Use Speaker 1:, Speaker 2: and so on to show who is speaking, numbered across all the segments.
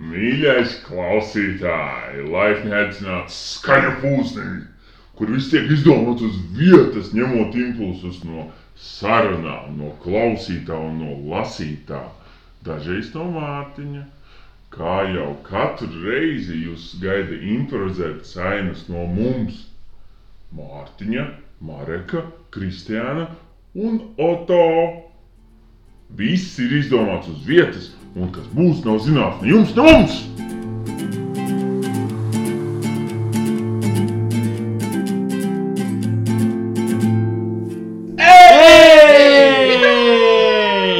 Speaker 1: Mīļais klausītāj, laipni aicināts skaņa pūsnī, kur viss tiek izdomāts uz vietas, ņemot impulsus no sarunām, no klausītā un no lasītā, dažreiz no Mārtiņa. Kā jau katru reizi jūs gaida improvizēt sainas no mums, Mārtiņa, Mareka, Kristiāna un Oto. Viss ir izdomāts uz vietas, un kas būs, nav zināms ne jums, ne mums!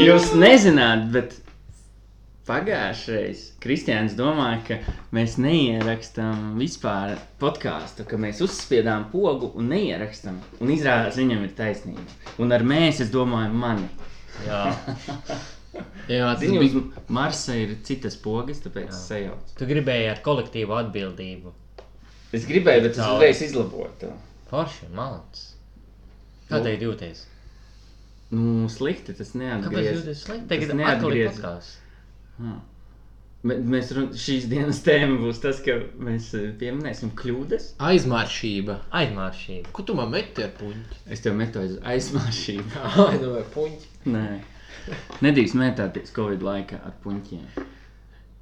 Speaker 2: Jūs nezināt, bet pagājušais Kristians domāja, ka mēs neierakstām vispār podkāstu, ka mēs uzspiedām pogu un neierakstām. Un izrādās, viņam ir taisnība. Un ar mēs es domāju, mani.
Speaker 3: Jā, jā tas
Speaker 2: Zini, uz
Speaker 3: bija.
Speaker 2: Marsa ir citas pogas, tāpēc es sajaucu.
Speaker 3: Tu gribēji ar kolektīvu atbildību.
Speaker 2: Es gribēju, bet es
Speaker 3: Cauri.
Speaker 2: uzreiz izlaboju to.
Speaker 3: Forši, malts. Kā
Speaker 2: Nu.
Speaker 3: tev jūties?
Speaker 2: Nu, slikti tas
Speaker 3: Kāpēc
Speaker 2: neatgriežas.
Speaker 3: jūties slikti?
Speaker 2: Tas
Speaker 3: Tagad atkal ir
Speaker 2: neatgriez.
Speaker 3: podkāsts.
Speaker 2: Bet mēs run... šīs dienas tēma būs tas, ka mēs eh, pieminēsim kļūdas.
Speaker 4: Aizmāršība.
Speaker 3: Aizmāršība.
Speaker 4: Ko tu man meti ar puņķi?
Speaker 2: Es tev metu aiz aizmāršību.
Speaker 4: Ai, nu vai puņķi.
Speaker 2: Nē, nedrīkst mētāties Covid laikā ar puņķiem.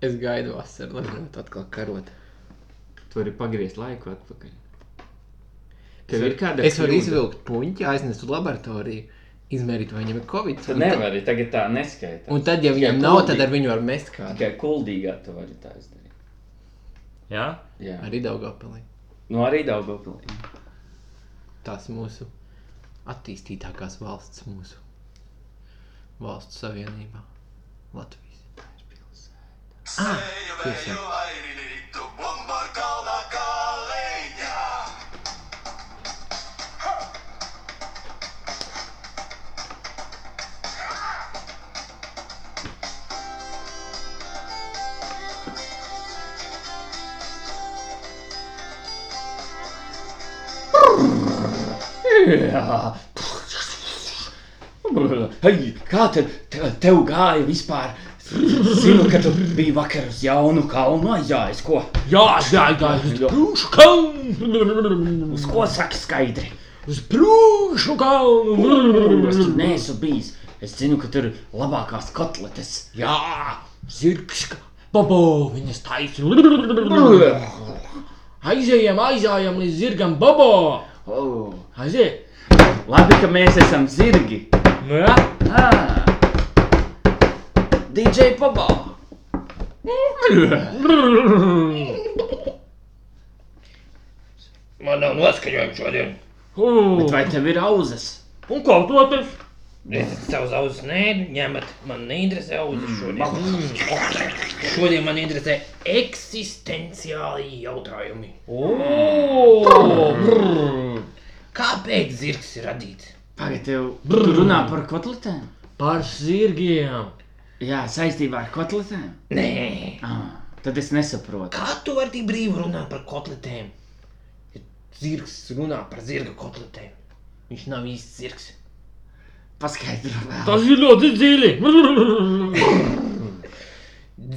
Speaker 4: Es gaidu vasaru, lai varētu atkal karot.
Speaker 2: Tu vari pagriezt laiku atpakaļ. Tev ir kāda
Speaker 4: Es varu
Speaker 2: kļūda?
Speaker 4: izvilkt puņķi, aiznest uz laboratoriju, izmērīt, vai viņam ir covid.
Speaker 2: Tu
Speaker 4: un tad-
Speaker 2: nevari tagad tā neskaitīt.
Speaker 4: Un tad, ja viņam
Speaker 2: Tikai
Speaker 4: nav,
Speaker 2: kuldīgi.
Speaker 4: tad ar viņu var mest kādu.
Speaker 2: Tikai kuldīgā tu vari tā izdarīt.
Speaker 3: Jā,
Speaker 2: Jā,
Speaker 4: Arī Daugavpilī.
Speaker 2: nu arī daudz papildināt.
Speaker 4: Tās mūsu attīstītākās valsts mūsu valstu savienībā. Latvijas. Ah, tiesa.
Speaker 2: Jā. Hei, kā te, te, tev gāja vispār? Zinu, ka tu biji vakar uz jaunu kalnu aizjājis. Ko?
Speaker 3: jā, jā, jā.
Speaker 2: Jā.
Speaker 3: Prūšu kalnu!
Speaker 2: Uz ko saki skaidri?
Speaker 3: Uz prūšu
Speaker 2: Es tur
Speaker 3: kalnu!
Speaker 2: neesmu bijis. Es zinu, ka tur ir labākās kotletes.
Speaker 3: Jā, zirgs! Babo, viņas taisīja!
Speaker 2: Oh,
Speaker 3: Aizējām, aizējām līdz zirgam, babo! Aiziet!
Speaker 2: Oh, labi, ka mēs esam zirgi.
Speaker 3: Nu jā,
Speaker 2: Ah. DJ Pabā.
Speaker 5: Man nav noskaņojuma šodien.
Speaker 3: Ū,
Speaker 2: Vai tev ir auzas?
Speaker 3: un kā doties?
Speaker 5: Es savus ausis nēdu, ņemat. Man neinteresē ausis šodien. Šodien man interesē eksistenciāli jautājumi. Oh. Kāpēc zirgs ir radīts?
Speaker 2: Pagaid, tev tu runā par kotletēm?
Speaker 3: Par zirgiem!
Speaker 2: Jā, saistībā ar kotletēm.
Speaker 5: Nē,
Speaker 2: Ah, tad es nesaprotu.
Speaker 5: kā tu vari tik brīvi runāt par kotletēm? Ja Zirgs runā par zirga kotletēm. Viņš nav īsts zirgs.
Speaker 2: Paskaidro vēl.
Speaker 3: Tas ir ļoti dziļi! Nu,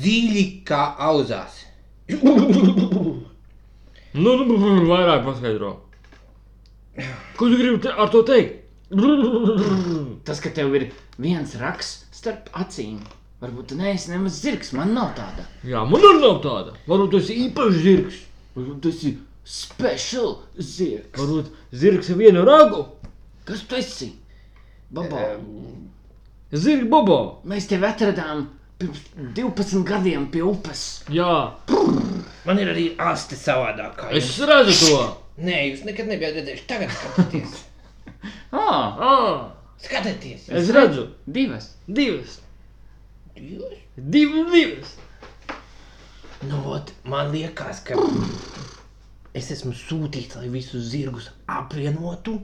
Speaker 5: Dziļi kā auzās.
Speaker 3: Nu, nu, vairāk paskaidro. Ko tu gribi te- ar to teikt?
Speaker 2: Tas, ka tev ir viens raksts starp acīm. Varbūt tu neesi nemaz zirgs, man nav tāda.
Speaker 3: Jā, man arī nav tāda. Varbūt tas ir īpašs zirgs.
Speaker 2: Varbūt tas ir special zirgs.
Speaker 3: Varbūt zirgs ar vienu ragu.
Speaker 2: Kas tu esi? Babo,
Speaker 3: Zirgs bobo.
Speaker 2: mēs tevi atradām pirms 12 gadiem pie upes.
Speaker 3: Jā,
Speaker 5: Man ir arī asti savādākā.
Speaker 3: es redzu to.
Speaker 5: Nē, jūs nekad nebijāt redzējuši. Tagad skatieties,
Speaker 2: Ah,
Speaker 3: À,
Speaker 5: skatieties,
Speaker 3: es redzu
Speaker 2: divas.
Speaker 3: divas.
Speaker 5: Jūs?
Speaker 3: Divas, divas.
Speaker 5: Nu, ot, man liekas, ka es esmu sūtīts, lai visus zirgus apvienotu.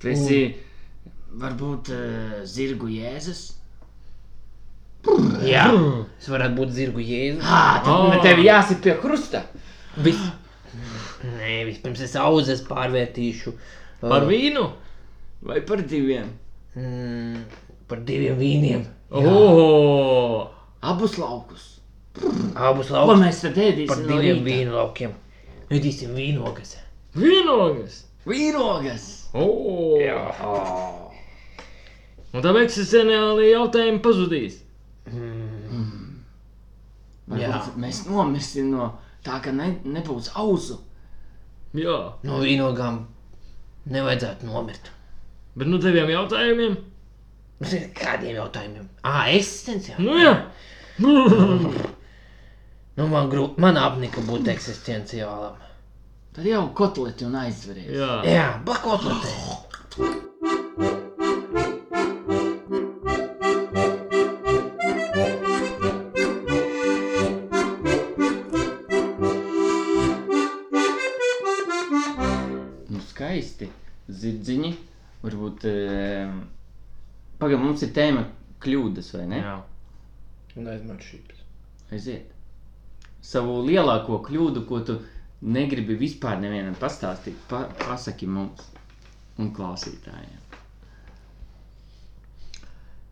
Speaker 2: Tu esi varbūt uh, zirgu jēzus.
Speaker 5: Jā, es varētu būt zirgu jēzus.
Speaker 2: Ah, tad
Speaker 3: Ah.
Speaker 2: oh. tev jāsit pie krusta.
Speaker 5: Vis... Nē, vispirms es auzas pārvērtīšu uh,
Speaker 3: Par vīnu?
Speaker 2: Vai par diviem?
Speaker 5: mm, par diviem vīniem.
Speaker 3: Oh,
Speaker 2: Abus laukus.
Speaker 6: Abus
Speaker 2: Ko
Speaker 6: laukus
Speaker 2: mēs tad ēdīsim?
Speaker 6: par
Speaker 2: no
Speaker 6: diviem
Speaker 2: rīta?
Speaker 6: vīnu laukiem. Ēdīsim vīnogas.
Speaker 3: Vienogas!
Speaker 2: Vīrogas!
Speaker 3: O! Un tam eksistenciāli jautājumi pazudīs.
Speaker 5: Mm,
Speaker 2: Varbūt mēs nomirsim no tā, ka ne, nebūs ausu.
Speaker 3: Jā,
Speaker 6: No vīnogām nevajadzētu nomirt.
Speaker 3: bet nu teviem jautājumiem?
Speaker 6: Kādiem jautājumiem? Ā, eksistenciāli.
Speaker 3: Nu jā!
Speaker 6: Nu, man grūti, man apnika būt eksistenciālam.
Speaker 2: Tad jau kotleti un aizvarēsim.
Speaker 3: jā.
Speaker 6: Jā, bakotlotē.
Speaker 2: Nu, skaisti. Zirdziņi. Varbūt. E, Pagaidām, mums ir tēma kļūdas, vai ne?
Speaker 3: jā.
Speaker 5: Neaizmirst šīs.
Speaker 2: Aiziet. Savu lielāko kļūdu, ko tu negribi vispār nevienam pastāstīt, pa, pasaki mums un klausītājiem.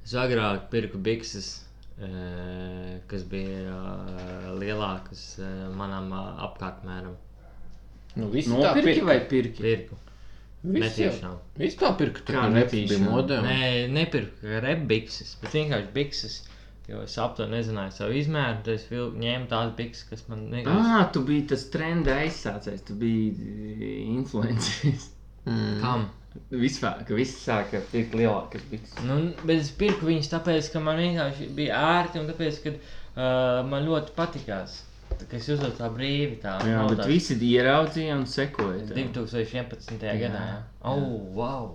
Speaker 3: Es agrāk pirku bikses, eh, kas bija eh, lielākas eh, manam eh, apkārtmēram.
Speaker 5: Nu, viss tā
Speaker 2: Nopirki
Speaker 5: pirka.
Speaker 2: vai pirki?
Speaker 3: Pirku.
Speaker 5: Viss jau-
Speaker 3: Netiešām.
Speaker 5: viss tā pirka. Tā
Speaker 2: Kā
Speaker 5: kā
Speaker 2: netīšām?
Speaker 5: nebija modē. un-
Speaker 3: Nē, nepirku repbikses, bet vienkārši bikses. Jo es aptuveni nezināju savu izmēru, tad es vil- ņēmu tās bikses, kas man negribas.
Speaker 2: Ah, tu biji tas trenda aizsācējs, tu biji influenceris.
Speaker 5: Mm.
Speaker 3: Kam?
Speaker 2: Vispār, ka viss sāka tikt lielākas bikses.
Speaker 3: Nu, bet es pirku viņus tāpēc, ka man vienkārši bija ērti un tāpēc, ka uh, man ļoti patikās. Tā kā Es uzvedu tā brīvi, tā
Speaker 2: Jā,
Speaker 3: nav
Speaker 2: bet
Speaker 3: tāds-
Speaker 2: visi ieraudzīja un sekoja. tev.
Speaker 3: 2011.
Speaker 2: Jā.
Speaker 3: gadā. jā. Oh, wow!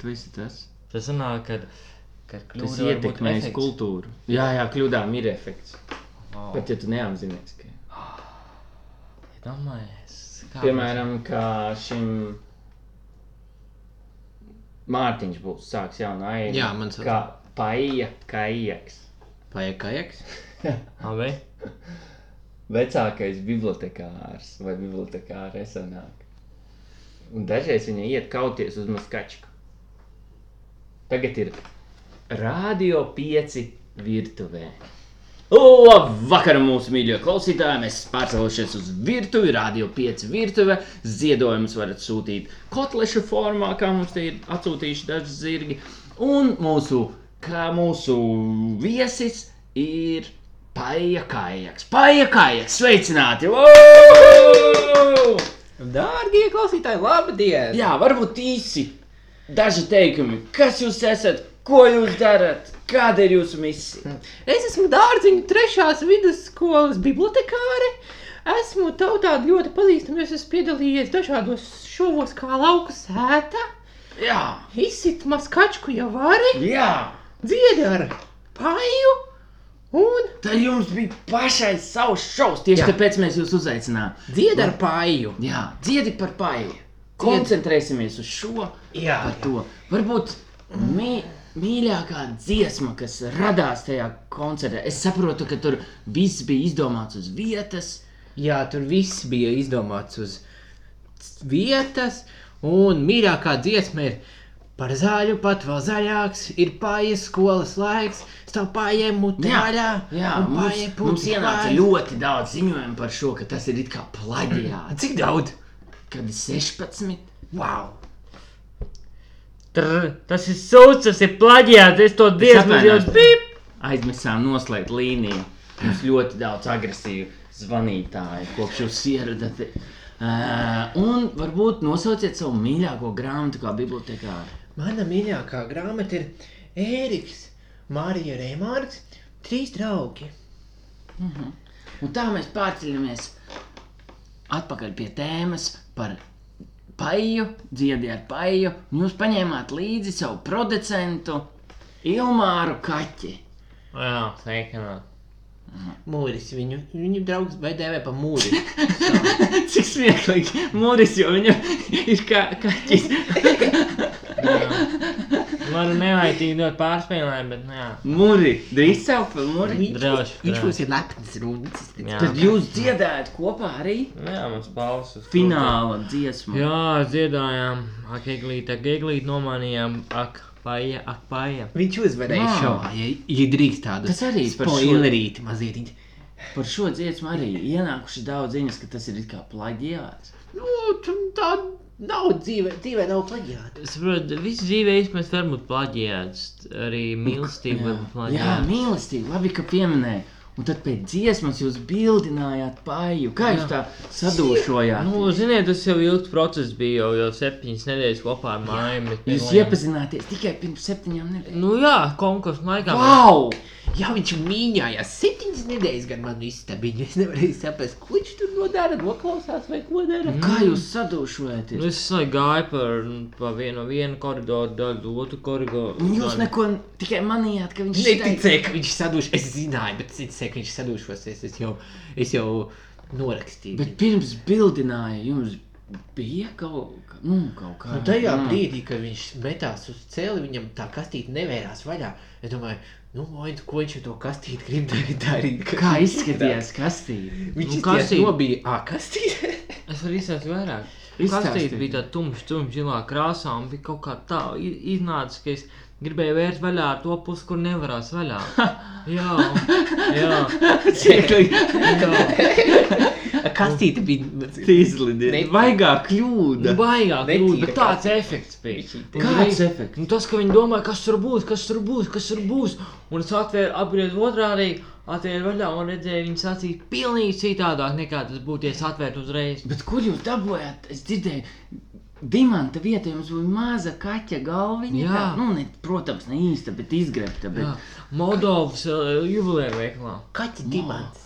Speaker 2: Tu esi tas.
Speaker 3: Tas sanāk, kad, kad
Speaker 2: Tas
Speaker 3: kļūda varbūt
Speaker 2: ietekmēs
Speaker 3: efekts.
Speaker 2: kultūru. Jā, jā, kļūdām ir efekts.
Speaker 3: Vau.
Speaker 2: Pat ja tu neapzinājies, ka.
Speaker 3: Iedomājies, kā
Speaker 2: Piemēram, kā šim Mārtiņš būs sāks jaunu ainu.
Speaker 5: Jā, man sauc.
Speaker 2: kā paija, kā ieks.
Speaker 5: Paiet kājaks.
Speaker 3: Abi?
Speaker 2: Vecākais bibliotekārs vai bibliotekāra esanāk. Un dažreiz viņa iet kauties uz maskačku. Tagad ir Rādio 5 virtuvē. Labvakar, mūsu mīļie klausītāji! Mēs pārcēlušies uz virtuvi, radio 5 virtuve. Ziedojumus varat sūtīt kotleša formā, kā mums te ir atsūtījuši daži zirgi. Un mūsu, kā mūsu viesis ir paiekājaks. Paiekājaks, sveicināti! Wow!
Speaker 5: Dārgie klausītāji, labdien!
Speaker 2: Jā, varbūt īsi daži teikumi. Kas jūs esat? Ko jūs darat? Kāda ir jūsu misija?
Speaker 5: Es esmu dārziņa trešās vidusskolas bibliotekāre. Esmu tev tāda ļoti pazīstama, jo es esmu piedalījies dažādos šovos, kā lauka sēta.
Speaker 2: Jā,
Speaker 5: Izsit maskačku jau vari,
Speaker 2: jā.
Speaker 5: dziedi ar paju un
Speaker 2: Tad jums bija pašai savs šovs. Tieši jā.
Speaker 5: Jā.
Speaker 2: tāpēc mēs jūs uzaicinājām.
Speaker 5: dziedi ar paju.
Speaker 2: Jā, dziedi par paēju. Koncentrēsimies uz šo,
Speaker 6: Jā,
Speaker 2: par to. Varbūt mī, mīļākā dziesma, kas radās tajā koncertā. Es saprotu, ka tur viss bija izdomāts uz vietas.
Speaker 5: Jā, tur viss bija izdomāts uz vietas, un mīļākā dziesma ir par zaļu, pat vēl zaļāks. Ir paies skolas laiks, stāv paiet mutē
Speaker 2: Jā,
Speaker 5: vaļā.
Speaker 2: Jā,
Speaker 5: un
Speaker 2: mums,
Speaker 5: paeja puķi
Speaker 2: mums ienāca
Speaker 5: klājas.
Speaker 2: ļoti daudz ziņojumu par šo, ka tas ir it kā plaģiāts.
Speaker 5: Cik daudz?
Speaker 2: Kad ir 16,
Speaker 5: Wow!
Speaker 3: Tr, tas ir sūds, tas ir plaģiāts, es to diezgan jau
Speaker 2: atvainojos.
Speaker 3: biju.
Speaker 2: aizmirsām noslēgt līniju. Mums ļoti daudz agresīvu zvanītāju kopš jūs ieradāties. Uh, un varbūt nosauciet savu mīļāko grāmatu, kā bibliotekāra.
Speaker 5: Mana mīļākā grāmata ir Ēriks, Mārija Rēmārks, trīs draugi.
Speaker 2: Un tā mēs pārceļamies atpakaļ pie tēmas par paiju, dziedāju ar paiju. Un Jūs paņēmāt līdzi savu producentu Ilmāru Kaķi.
Speaker 3: Jā, sveikinā.
Speaker 5: Mūris viņu, viņu draugs vai dēvē pa mūri.
Speaker 2: Cik smieklīgi! Mūris jau viņam ir kā kaķis.
Speaker 3: Man nevajag tik dot pārspīlējumu, bet nu jā.
Speaker 2: Mūri, drīz savu par mūri.
Speaker 5: Viņš
Speaker 3: Draugs,
Speaker 5: būs- viņš
Speaker 3: draugs.
Speaker 5: būs ir lepns runas.
Speaker 3: Jā,
Speaker 2: Tad jūs dziedājat kopā arī
Speaker 3: Nu jā mums balss uz
Speaker 2: fināla dziesmu.
Speaker 3: Jā, dziedājām, ak, eglīt, ak, eglīt, nomainījām, ak, paija, ak, paija.
Speaker 5: Viņš uzvarēja
Speaker 2: Jā.
Speaker 5: šovā, ja, ja drīkst tādu
Speaker 2: Tas arī par šo-
Speaker 5: spoilerīti mazliet.
Speaker 2: Par šo dziesmu arī ienākuši daudz ziņas, ka tas ir it kā plagiāts.
Speaker 5: Nu, tu- tā nav dzīve, dzīvē nav plaģiāta.
Speaker 3: Es saprotu, visu dzīvē mēs varam būt plaģiāts. Arī mīlestība var būt
Speaker 2: jā
Speaker 3: plaģiāta.
Speaker 2: mīlestība, labi, ka pieminēja. Un tad pēc dziesmas jūs bildinājāt pāju. Kā jūs tā sadūšojāt?
Speaker 3: Nu, ziniet, tas jau ilgs process bija, jau, jau septiņas nedēļas kopā ar mājām. bet
Speaker 2: Jūs
Speaker 3: vienojām.
Speaker 2: iepazināties tikai pirms septiņām nedēļām.
Speaker 3: Nu jā, konkursu laikā. Nu, mēs-
Speaker 5: Wow! Jā, viņš mīnījās septiņas nedēļas gan man istabiņu. Es nevarēju saprast, ko viņš tur nodara, noklausās vai ko dara.
Speaker 2: Nu, Kā jūs sadūšojaties?
Speaker 3: Mm. Nu, es like, gāju par, nu, pa vienu, no vienu koridoru, daļu, otru koridoru.
Speaker 2: Un Jūs
Speaker 3: daļu.
Speaker 2: neko tikai manījāt, ka viņš
Speaker 5: Neticēju, ka viņš sadūš. Es zināju, bet es neticēju, ka viņš sadūšosies. Es jau, es jau norakstīju.
Speaker 2: Bet pirms bildināja, jums bija kaut, ka- nu, kaut kā
Speaker 5: Nu, tajā mm. brīdī, kad viņš metās uz ceļa, viņam tā kastīte nevērās vaļā. Es domāju, nu, oi, ko viņš ar to kastīti grib darīt? darīt ka
Speaker 2: Kā
Speaker 5: viņš
Speaker 2: izskatījās kastīte?
Speaker 5: izskatās? Viņš
Speaker 3: Nu,
Speaker 5: nu, kā
Speaker 3: kastīte.
Speaker 5: nobija. Ā, kastīte!
Speaker 3: Es varu izsākt vairāk.
Speaker 2: Izstāstiet.
Speaker 3: Kastīte bija tāda tumša, tumša zilā krāsā un bija kaut kā tā i- iznācis, ka es gribēju vērt vaļā ar to pusi, kur nevarās vaļā. jā, jā, jā.
Speaker 5: kastīte bija
Speaker 2: Tīzlidi.
Speaker 5: Ne-
Speaker 2: Vaigā kļūda.
Speaker 3: Baigā grūti,
Speaker 5: Netīra
Speaker 3: bet tāds
Speaker 5: kastīte.
Speaker 3: efekts bija. Un
Speaker 2: Kāds
Speaker 3: arī-
Speaker 2: efekts?
Speaker 3: Nu, tas, ka viņi domāja, kas tur būs, kas tur būs, kas tur būs. Un es atvēru, apgriezu otrādi, atvēru vaļā un redzēju, viņas acīs pilnīgi citādāk nekā tas būtu, ja es atvērtu uzreiz.
Speaker 2: Bet kur jūs dabūjāt? Es dzirdēju, Dimanta vietā jums bija maza kaķa galviņa.
Speaker 3: Jā.
Speaker 2: tā, Nu, ne, protams, ne īsta, bet izgrebta. Bet
Speaker 3: Jā, Moldovas uh, jubilēra veiklā.
Speaker 5: kaķa dimants.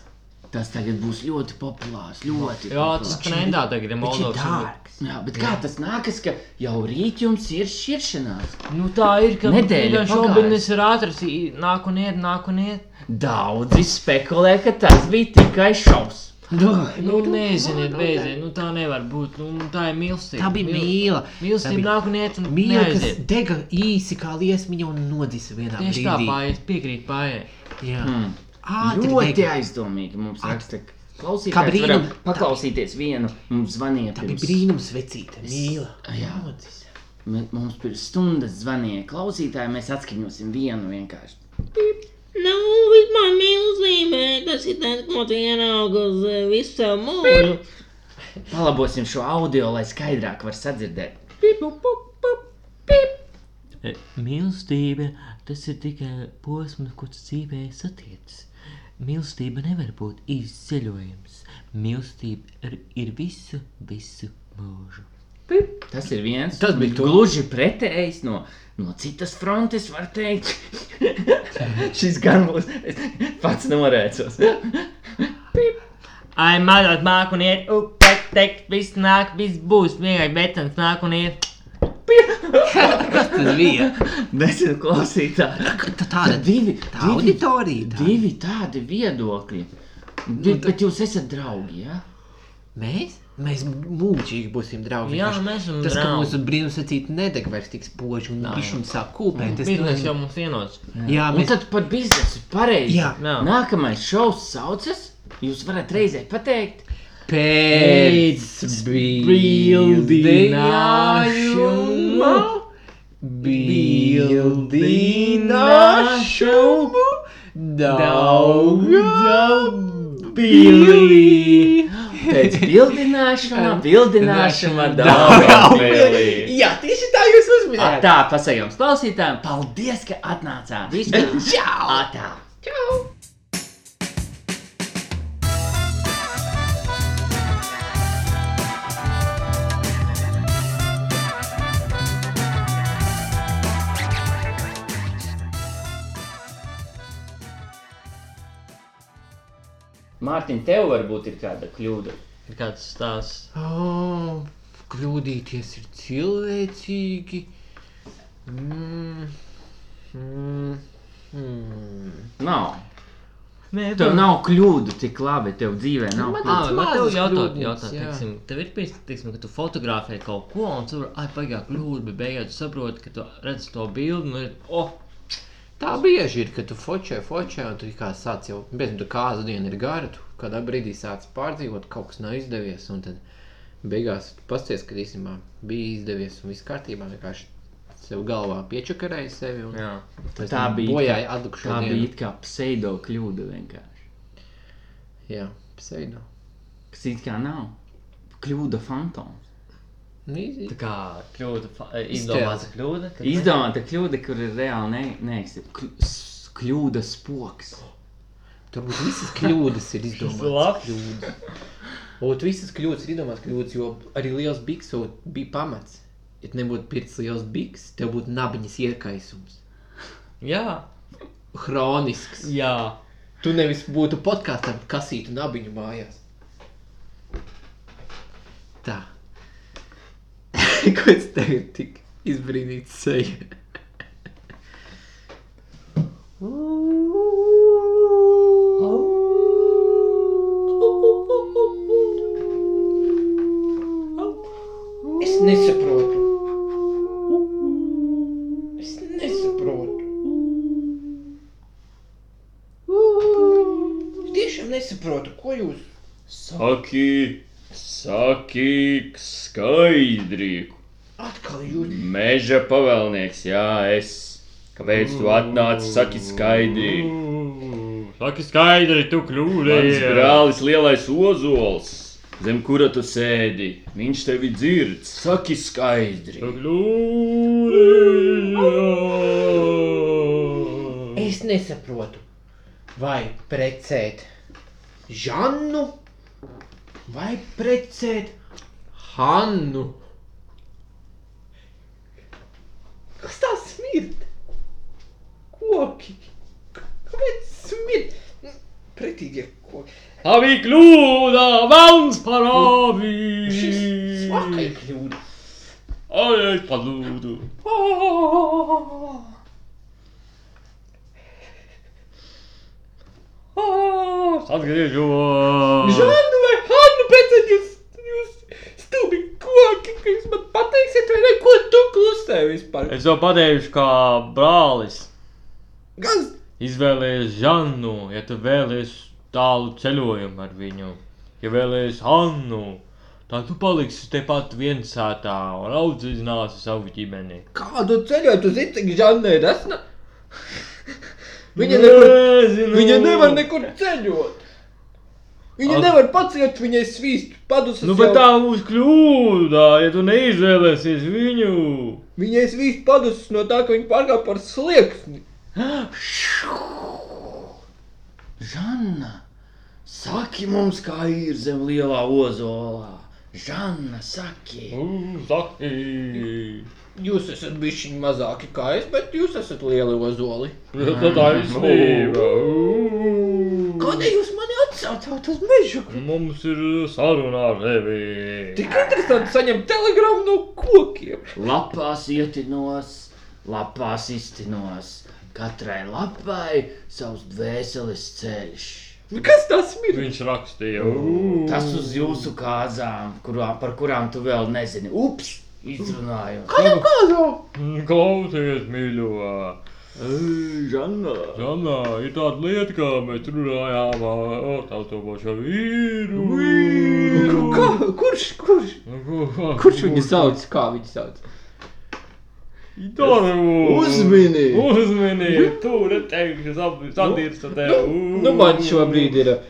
Speaker 2: tas tagad būs ļoti populārs. Ļoti
Speaker 3: Jā, tas
Speaker 2: populārs.
Speaker 3: trendā tagad ir
Speaker 5: Viņš ir
Speaker 3: Moldovas. jubilē-
Speaker 5: dārgs.
Speaker 2: Jā, bet kā tas nākas, ka jau rīt jums ir šķiršanās?
Speaker 3: Nu, tā ir ka
Speaker 2: Nedēļa
Speaker 3: nedēļa.
Speaker 2: pagājusi.
Speaker 3: Šobrīd es ir ātrs, i- nāk un iet, nāk un iet.
Speaker 2: Daudzi spekulē, ka tas bija tikai šausmas.
Speaker 3: Nu, nezinu, nezinu, nu, tā nevar būt. Nu, tā ir mīlestība.
Speaker 5: Tā bija
Speaker 3: Mīl-
Speaker 5: mīla.
Speaker 3: Mīlestība
Speaker 5: Tā
Speaker 3: nāk un iet, un
Speaker 5: Mīla, kas
Speaker 3: neaiziet.
Speaker 5: dega īsi kā liesmiņa un nodzisa vienā
Speaker 3: Tieši tā
Speaker 5: brīdī.
Speaker 3: pāiet, piekrīt pāiet.
Speaker 5: Jā,
Speaker 2: Mm.
Speaker 5: ātri
Speaker 2: Ļoti
Speaker 5: dega.
Speaker 2: aizdomīgi mums raksta.
Speaker 5: Kā
Speaker 2: Klausīties,
Speaker 5: brīnum-
Speaker 2: brīnum, paklausīties vienu, mums zvanīja
Speaker 5: Tā bija
Speaker 2: pirms,
Speaker 5: brīnums vecīte. Mīla.
Speaker 2: Jā.
Speaker 5: Nodzisa.
Speaker 2: me- mums pirms stundas zvanīja klausītāji, mēs atskaņosim vienu vienkārši.
Speaker 7: Nav Nu, vispār mīlestība, kas ir tāds, ko tu ieraugi uz eh, visu savu mūžu.
Speaker 2: Palabosim šo audio, lai skaidrāk var sadzirdēt.
Speaker 3: E, Mīlestība tas ir tikai posms, ko tu dzīvē satiec. Mīlestība nevar būt īsts ceļojums. Mīlestība ir, ir visu, visu mūžu.
Speaker 2: Tas ir viens.
Speaker 5: Tas bija tu.
Speaker 2: gluži pretējs no, no citas frontes, var teikt. Šis gan būs, es pats norēcos.
Speaker 3: Ai, mazliet nāk un iet, upē, teikt, viss nāk, viss būs. Vienkārši betons nāk un iet.
Speaker 5: Kas tas bija?
Speaker 2: Nesen klausītāji.
Speaker 5: Tā tāda
Speaker 2: Divi,
Speaker 5: tā
Speaker 2: divi
Speaker 5: auditorija. Tā.
Speaker 2: Divi tādi viedokļi. Nu, bet jūs esat draugi, jā? Ja?
Speaker 5: Mēs? Mēs mūžīgi būsim draugi.
Speaker 3: Jā,
Speaker 5: vienkārši.
Speaker 3: mēs esam
Speaker 5: Tas, ka
Speaker 3: draugi.
Speaker 5: mūsu brīnumsacīte nedeg vairs tik spoži un viņš un sāk kūpēt. tas
Speaker 3: Biznes
Speaker 5: nozīmē-
Speaker 3: jau mums vienots.
Speaker 5: Jā,
Speaker 2: Un
Speaker 5: mēs...
Speaker 2: tad par biznesu pareizi.
Speaker 5: Jā.
Speaker 3: Jā.
Speaker 2: Nākamais šovs saucas. Jūs varat reizē pateikt,
Speaker 5: pēc bildināšuma, bildināšumu, daudz bildī.
Speaker 2: pēc bildināšana, bildināšana, daudzpilī.
Speaker 5: Jā, tieši tā jūs uzminējāt.
Speaker 2: Tā, pasakām klausītājiem, paldies, ka atnācāt. Viss
Speaker 5: Čau!
Speaker 2: tā! Mārtiņ, tev varbūt ir kāda kļūda.
Speaker 3: Ir kāds stāsts.
Speaker 5: Oh, kļūdīties ir cilvēcīgi. Mm. Mm. Mm.
Speaker 2: Nav.
Speaker 3: Nē,
Speaker 2: Tev nav kļūdu tik labi, tev dzīvē nav.
Speaker 5: Man-
Speaker 2: kļūdu.
Speaker 3: Ah, man te
Speaker 5: mazas
Speaker 3: jau jautā,
Speaker 5: kļūdas,
Speaker 3: jautā
Speaker 5: jā.
Speaker 3: teiksim, tev ir bijis, teiksim, ka tu fotografē kaut ko un tur aizpagā kļūda, bet beigās tu saproti, ka tu redz to bildi un ir, oh,
Speaker 5: Tā bieži ir, ka tu fočē, fočē, un tu kā sāc jau, bet nu, tu kāzu dienu ir gara, tu kādā brīdī sāc pārdzīvot, kaut kas nav izdevies, un tad beigās pasties, ka īstenībā bija izdevies un viss kārtībā, vienkārši sev galvā piečakarēji sevi, un
Speaker 3: jā.
Speaker 5: pēc
Speaker 2: Tā
Speaker 5: tam
Speaker 2: bija-
Speaker 5: bojāja atlikušo
Speaker 2: Tā
Speaker 5: dienu.
Speaker 2: bija it kā pseido kļūda vienkārši.
Speaker 5: Jā, pseidonā.
Speaker 2: kas it kā nav. Kļūda fantoms.
Speaker 5: Nī-
Speaker 8: Tā kā kļūda, fa-
Speaker 3: eh,
Speaker 8: izdomāta kļūda. kad-
Speaker 2: Izdomāta kļūda, kur ir reāli ne, neeksistē. Kļ- s- Kļūda spoks.
Speaker 5: Turbūt visas kļūdas ir
Speaker 8: Tas
Speaker 5: izdomātas.
Speaker 8: labs.
Speaker 5: Kļūdas. Un visas kļūdas ir izdomātas kļūdas, jo arī liels biks jau bija pamats. Ja tu nebūtu pircis liels biks, tev būtu nabiņas iekaisums.
Speaker 8: Jā,
Speaker 5: Hronisks.
Speaker 8: jā.
Speaker 5: Tu nevis būtu podkāstā, bet kasītu nabiņu mājās. Tā. Ko es tev ir tik izbrīnīts seja?
Speaker 9: Es nesaprotu. Es nesaprotu. Es tiešām nesaprotu, ko jūs.
Speaker 10: Saki, saki, skaidri.
Speaker 9: Atkal jūs.
Speaker 10: Meža pavēlnieks, jā, es. Kāpēc tu atnāci? Saki, skaidri.
Speaker 8: Saki skaidri, tu
Speaker 10: Mans
Speaker 8: kļūdi.
Speaker 10: brālis, lielais ozols, zem kura tu sēdi. Viņš tevi dzird. Saki, skaidri.
Speaker 8: Tu kļūdi.
Speaker 9: Es nesaprotu.
Speaker 5: Vai precēt Žannu, vai precēt Hannu? Kas tā smird? Koki! Kāpēc smird? Pretīgie koki!
Speaker 8: Tavi kļūda, mans parāvi.
Speaker 5: Svakai kļūda!
Speaker 8: Ai, palūdu.
Speaker 5: Oh.
Speaker 8: Atgriežos.
Speaker 5: Žannu vai Hannu precēt jūs! Jūs stulbi koki! Ka jūs man pateiksiet vai ne, ko tu klusē vispār?
Speaker 8: Es jau pateikšu, kā brālis.
Speaker 5: Kas?
Speaker 8: Izvēlējies Žannu, ja tu vēlējies tālu ceļojumu ar viņu. Ja vēlējies Annu, tad tu paliksi tepat viensātā un audzināsi savu ģimeni.
Speaker 5: Kādu ceļoju tu zini, cik Žanna ir esna?
Speaker 8: Nu.
Speaker 5: Viņa nekur
Speaker 8: nezina,
Speaker 5: Viņa nevar nekur ceļot. Viņa
Speaker 8: Ak.
Speaker 5: At... nevar paciest, viņai svīst padusas.
Speaker 8: Nu, bet
Speaker 5: jau-
Speaker 8: tā būs kļūda, ja tu neizvēlēsies viņu.
Speaker 5: Viņai svīst padusas no tā, ka viņa pārkāpa par slieksni.
Speaker 10: Žanna, saki mums, kā ir zem lielā ozolā. Žanna, saki.
Speaker 8: Saki,
Speaker 5: Jūs esat bijuši mazāki kā es, bet jūs esat lieli ozoli.
Speaker 8: Nu, tā taisnība.
Speaker 5: Kādēļ jūs mani atsaucāt uz mežu?
Speaker 8: Mums ir saruna ar tevi.
Speaker 5: Tik interesanti saņemt telegramu no kokiem.
Speaker 10: Lapās ietinos, lapās iztinos. Katrai lapai savs dvēseles ceļš.
Speaker 5: Nu, Kas tas ir?
Speaker 8: Viņš rakstīja.
Speaker 10: Tas uz jūsu kāzām, kurām, par kurām tu vēl nezini. Ups! Izrunāju.
Speaker 5: Kādam kādā?
Speaker 8: Klausies, mīļo.
Speaker 10: Žanna!
Speaker 8: Žanā, ir tāda lieta, kā mēs runājām ar tautobošu vīru.
Speaker 5: Nu, Kā? Kurš? Kurš?
Speaker 8: Nu, ko- kā-
Speaker 5: Kurš viņu sauc? Kā viņu sauc?
Speaker 8: Darbu!
Speaker 5: Uzmini! Hm?
Speaker 8: Uzmini! Tur teikšu, sadirsta tev!
Speaker 5: Nu, nu man šobrīd ir uh,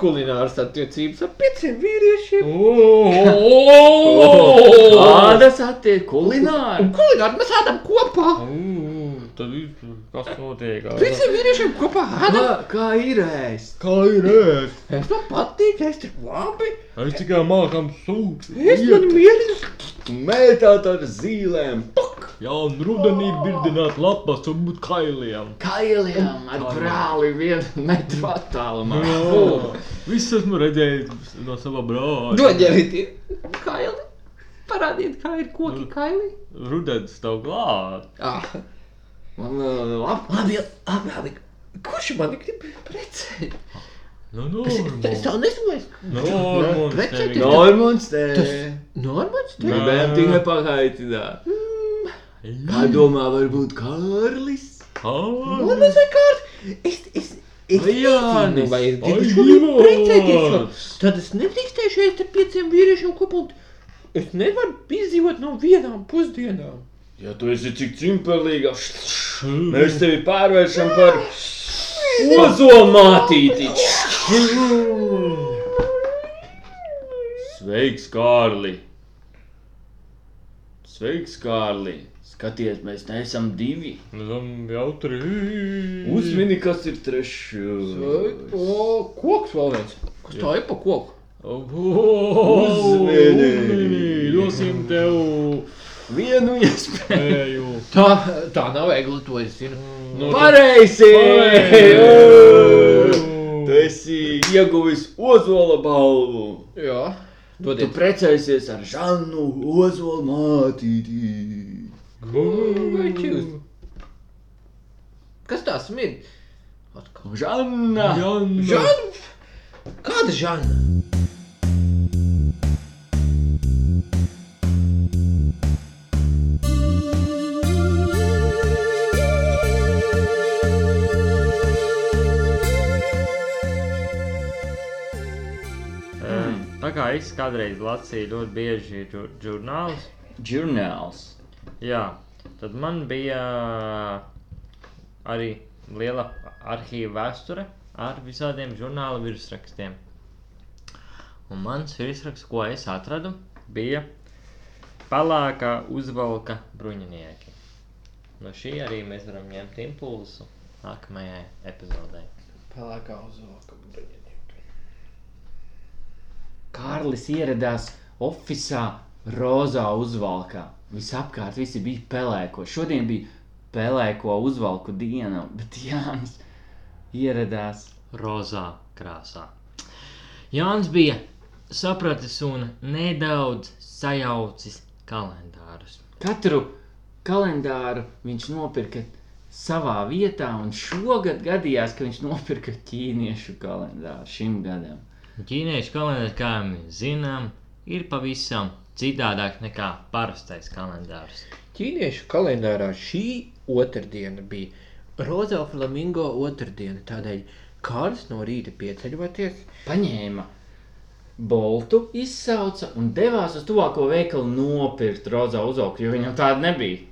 Speaker 5: kulinārs attiecības ar pieciem vīriešiem.
Speaker 10: Oh!
Speaker 5: Oh!
Speaker 10: Kādas attiek kulināri?
Speaker 5: Un kulināri mēs ēdam kopā.
Speaker 8: Tad viss, kas notiek?
Speaker 5: Visi vīrieši kopā ēdam.
Speaker 10: Kā ir ēst?
Speaker 8: Kā ir ēst?
Speaker 5: Es man patīk, es tur labi.
Speaker 8: Es tikai mākam sūkt.
Speaker 5: Es man mierinu.
Speaker 10: Mētāt ar zīlēm,
Speaker 8: Jā, un rudenī birdināt lapas un būt kailiem.
Speaker 10: kailiem, ar brāli vienu metru attālumā.
Speaker 8: Jā, viss esmu redzējis no sava brāļa.
Speaker 5: Doģerīt. Kaili. Parādiet, kā ir koki kaili.
Speaker 8: Rudens tev klāt.
Speaker 5: Ah, eh,
Speaker 10: Man uh, labi.
Speaker 5: labi, labi, labi. Kurš man grib precēt?
Speaker 8: Nu,
Speaker 5: Es
Speaker 8: normāli.
Speaker 5: tev nesaprotu.
Speaker 8: Normāli.
Speaker 5: Precēt
Speaker 8: tevi.
Speaker 5: ir-
Speaker 10: Normons te.
Speaker 5: Normāls
Speaker 8: nu.
Speaker 5: tev.
Speaker 10: Gribējām tikai pakaitināt.
Speaker 8: Mm.
Speaker 10: Kā domā, varbūt Kārlis?
Speaker 8: Normāli.
Speaker 5: Normāls vienkārt. Es, es, es.
Speaker 10: Jānis.
Speaker 5: nezinu, vai es gribu
Speaker 8: Ai,
Speaker 5: šodien precēties. vēl.
Speaker 8: Ivars!
Speaker 5: Tad es nedrīkstēšu ēst ar pieciem vīriešiem kopā. un Es nevaru izdzīvot no vienām pusdienām.
Speaker 10: Ja tu esi cik cimperīga,
Speaker 5: Nu-
Speaker 10: mēs tevi pārvēršam par ozolmātīti. Sveiks, Kārli! Sveiks, Kārli! Skaties, mēs neesam divi.
Speaker 3: Jau tur ir.
Speaker 10: Uzmini, kas ir trešais.
Speaker 5: Koks vēl viens. Kas tā ir pa koku?
Speaker 10: Uzmini!
Speaker 3: Uzmini! Dosim tev
Speaker 10: Vienu iespēju!
Speaker 3: pēju.
Speaker 5: Tā, tā nav viegli, to es zinu.
Speaker 3: Nu,
Speaker 10: Pareizi!
Speaker 3: Pareizi!
Speaker 10: Tu esi ieguvis Ozola balvu!
Speaker 5: Jā,
Speaker 10: Tu
Speaker 5: dodiet.
Speaker 10: precēsies ar Žanu Ozola mātīti!
Speaker 5: Čūs. Kas tā smird? Atkal.
Speaker 10: Žanna!
Speaker 5: Žana? Kāda žana?
Speaker 3: Hm, Tā kā es kādreiz lasīju ļoti bieži žur- žurnālus,
Speaker 10: Žurnāls!
Speaker 3: jā, tad man bija arī liela arhīva vēsture ar visādiem žurnāla virsrakstiem. Un mans virsraksts, ko es atradu, bija Palāka uzvalka bruņinieki. No šī arī mēs varam ņemt impulsu nākamajai epizodei.
Speaker 5: Pelēkā uzvalka.
Speaker 2: Kārlis ieradās oficiālā rozā uzvalkā. Visapkārt visi bija pelēko. Šodien bija pelēko uzvalku diena, bet Jānis ieradās.
Speaker 3: rozā krāsā. Jānis bija sapratis un nedaudz sajaucis kalendārus.
Speaker 2: Katru kalendāru viņš nopirka savā vietā, un šogad gadījās, ka viņš nopirka ķīniešu kalendāru šim gadam.
Speaker 3: Ķīniešu kalendārs, kā mēs zinām, ir pavisam citādāk nekā parastais kalendārs.
Speaker 5: Ķīniešu kalendārā šī otrdiena bija Rozā Flamingo otrdiena. Tādēļ Kārs no rīta pieceļoties,
Speaker 2: Paņēma boltu, izsauca un devās uz tuvāko veikalu nopirkt rozā uzvalku, jo viņam tāda nebija.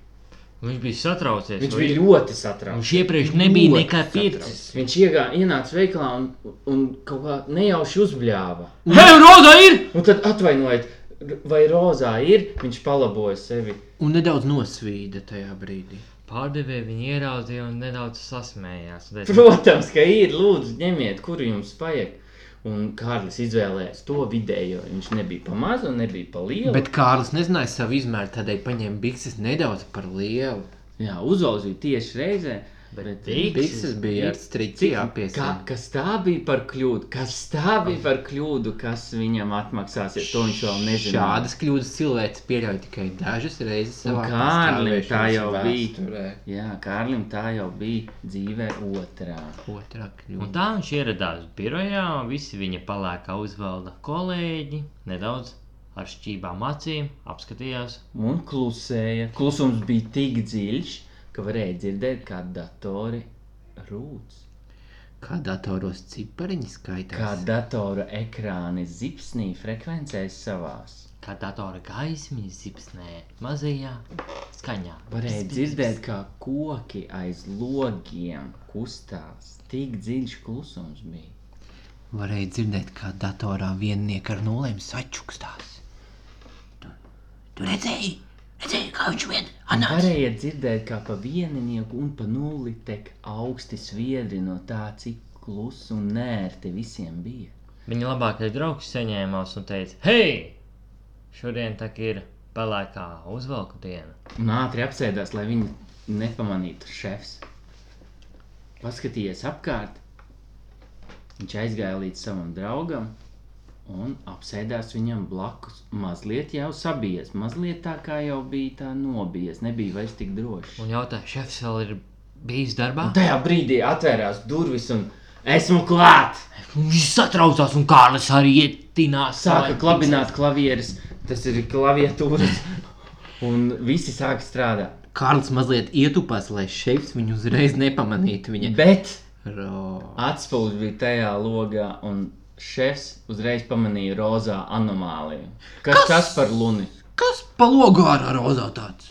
Speaker 3: Viņš bija satraucies.
Speaker 2: Viņš
Speaker 3: jo
Speaker 2: bija ļoti satraukts.
Speaker 3: Viņš iepriekš nebija
Speaker 5: Ļoti
Speaker 3: nekā
Speaker 5: satraukts.
Speaker 3: pircis.
Speaker 2: Viņš iegā, ienāca veikalā un, un kaut kā nejauši uzbļāva.
Speaker 3: Hei, rozā ir!
Speaker 2: Un tad atvainojiet, r- vai rozā ir? Viņš palaboja sevi.
Speaker 5: un nedaudz nosvīda tajā brīdī.
Speaker 3: Pārdevēja viņu ieraudzīja un nedaudz sasmējās. Un teica,
Speaker 2: Protams, ka ir. Lūdzu, ņemiet, kur jums vajag. Un Kārlis izvēlējās to vidējo. Viņš nebija pa mazu, un nebija pa lielu. Bet...
Speaker 5: Bet Kārlis nezināja savu izmēru, tādēļ paņēma bikses nedaudz par lielu.
Speaker 2: Jā, uzauzīja tieši reizē. Bet
Speaker 5: Bikses bija ar striķi
Speaker 2: Kā,
Speaker 5: jāpiesaka.
Speaker 2: kas tā bija par kļūdu? Kas tā bija par kļūdu? Kas viņam atmaksāsies? To viņš vēl nezina.
Speaker 5: Šādas kļūdas cilvēks pieļauj tikai dažas reizes
Speaker 2: Un
Speaker 5: savā
Speaker 2: Kārlim tā
Speaker 5: pastāvēšanas
Speaker 2: jau bija.
Speaker 5: vēsturē.
Speaker 2: Jā, Kārlim tā jau bija dzīve otrā.
Speaker 5: Otrā
Speaker 3: Un
Speaker 5: kļūda.
Speaker 3: tā viņš ieradās birojā, un visi viņa palēkā uzvalda kolēģi, nedaudz ar šķībām acīm apskatījās.
Speaker 2: Un klusēja. Klusums bija tik dziļš, ka varēja dzirdēt, kā datori rūc.
Speaker 5: Kā datoros cipariņi skaitās?
Speaker 2: Kā datora ekrāni zipsnī frekvencēs savās.
Speaker 3: Kā datora gaismiņa zipsnē, mazajā skaņā.
Speaker 2: Varēja dzirdēt, kā koki aiz logiem kustās. Tik dziļš klusums bija.
Speaker 5: Varēja dzirdēt, kā datorā viennieka ar nulēm sačukstās. Tu, tu redzēji, redzēji, kā viņš vien anāca.
Speaker 2: Varēja dzirdēt, kā pa vieninieku un pa nulli tek augsti sviedri no tā, cik klusi un nērti visiem bija.
Speaker 3: Viņa labākais draugs saņēmās un teica: Hei, šodien tā kā ir palēkā uzvalku diena.
Speaker 2: Un ātri apsēdās, lai viņu nepamanītu šefs. Paskatījies apkārt, viņš aizgāja līdz savam draugam un apsēdās viņam blakus. Mazliet jau sabijies, mazliet tā kā jau bija tā nobijies, nebija vairs tik droši.
Speaker 3: Un jautāja, šefs vēl ir bijis darbā?
Speaker 2: Un tajā brīdī atvērās durvis un esmu klāt!
Speaker 3: Viņš satraucās, un Kārlis arī ietinās.
Speaker 2: Sāka klabināt klavieres, tas ir klaviatūras, un visi sāka strādāt.
Speaker 5: Kārls mazliet ietupās, lai šefs viņu uzreiz nepamanītu. Viņa
Speaker 2: Bet
Speaker 5: Ro.
Speaker 2: Atspūgs bija tajā logā, un šefs uzreiz pamanīja rozā anomāliju. Kas, Kas? tas par luni?
Speaker 5: Kas pa logā ar rozā tāds?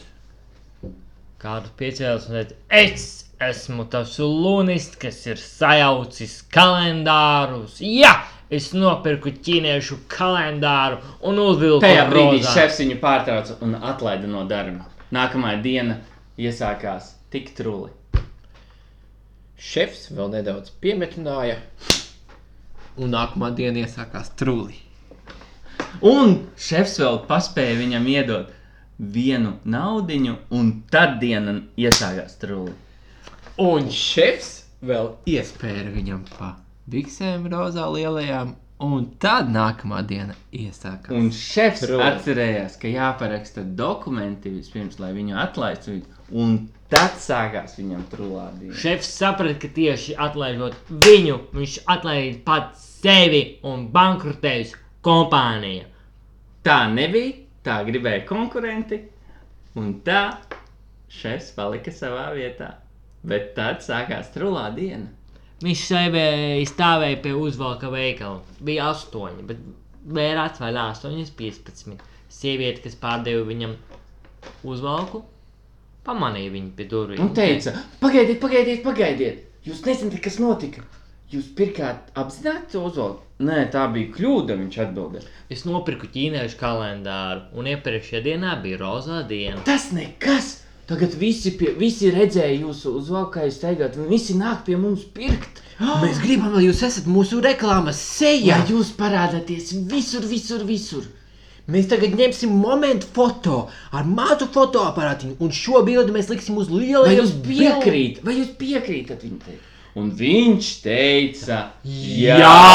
Speaker 3: Kārlis piecēlās un teica: Es Esmu tas lunis, kas ir sajaucis kalendārus. Jā, es nopirku ķīniešu kalendāru un uzvilku
Speaker 2: Tajā brīdī
Speaker 3: rozā.
Speaker 2: šefs viņu pārtrauca un atlaida no darba. Nākamā diena iesākās tik truli.
Speaker 5: Šefs vēl nedaudz piemetināja, un nākamā diena iesākās trūli.
Speaker 2: Un šefs vēl paspēja viņam iedot vienu naudiņu, un tad diena iesākās truli.
Speaker 5: Un šefs vēl iespēja viņam pa biksēm rozā lielajām, un tad nākamā diena iesākās.
Speaker 2: Un šefs Trūli. atcerējās, ka jāparaksta dokumenti vispirms, lai viņu atlaistu. Un tad sākās viņam trulādība.
Speaker 3: Šefs saprata, ka tieši atlaižot viņu, viņš atlaida pats sevi un bankrotējusi kompānija.
Speaker 2: Tā nebija, tā gribēja konkurenti, un tā šefs palika savā vietā. Bet tad sākās trulā diena.
Speaker 3: Viņš sevi stāvēja pie uzvalka veikala. Bija astoņi, bet vērāts vēl astoņas, piecpadsmit. Sieviete, kas pārdeva viņam uzvalku, pamanīja viņu pie durvīm.
Speaker 2: Un teica, pagaidiet, pagaidiet, pagaidiet. Jūs nezināt, kas notika. Jūs pirkāt apzināti to uzvalku? Nē, tā bija kļūda, viņš atbildēja.
Speaker 3: Es nopirku ķīniešu kalendāru, un iepriekšējā dienā bija rozā diena.
Speaker 2: Tas nekas! Tagad visi, pie, visi redzēja jūsu uzvalku, kā jūs teigāt, un visi nāk pie mums pirkt.
Speaker 5: Mēs gribam, lai jūs esat mūsu reklāmas
Speaker 2: Jā,
Speaker 5: sejā.
Speaker 2: jūs parādāties visur, visur, visur.
Speaker 5: Mēs tagad ņemsim momentu foto ar mazu fotoaparātu, un šo bildi mēs liksim uz
Speaker 2: Vai
Speaker 5: lielajiem
Speaker 2: jūs piekrītat, vai jūs piekrītat viņam? Teikt? Un viņš teica, jā! jā!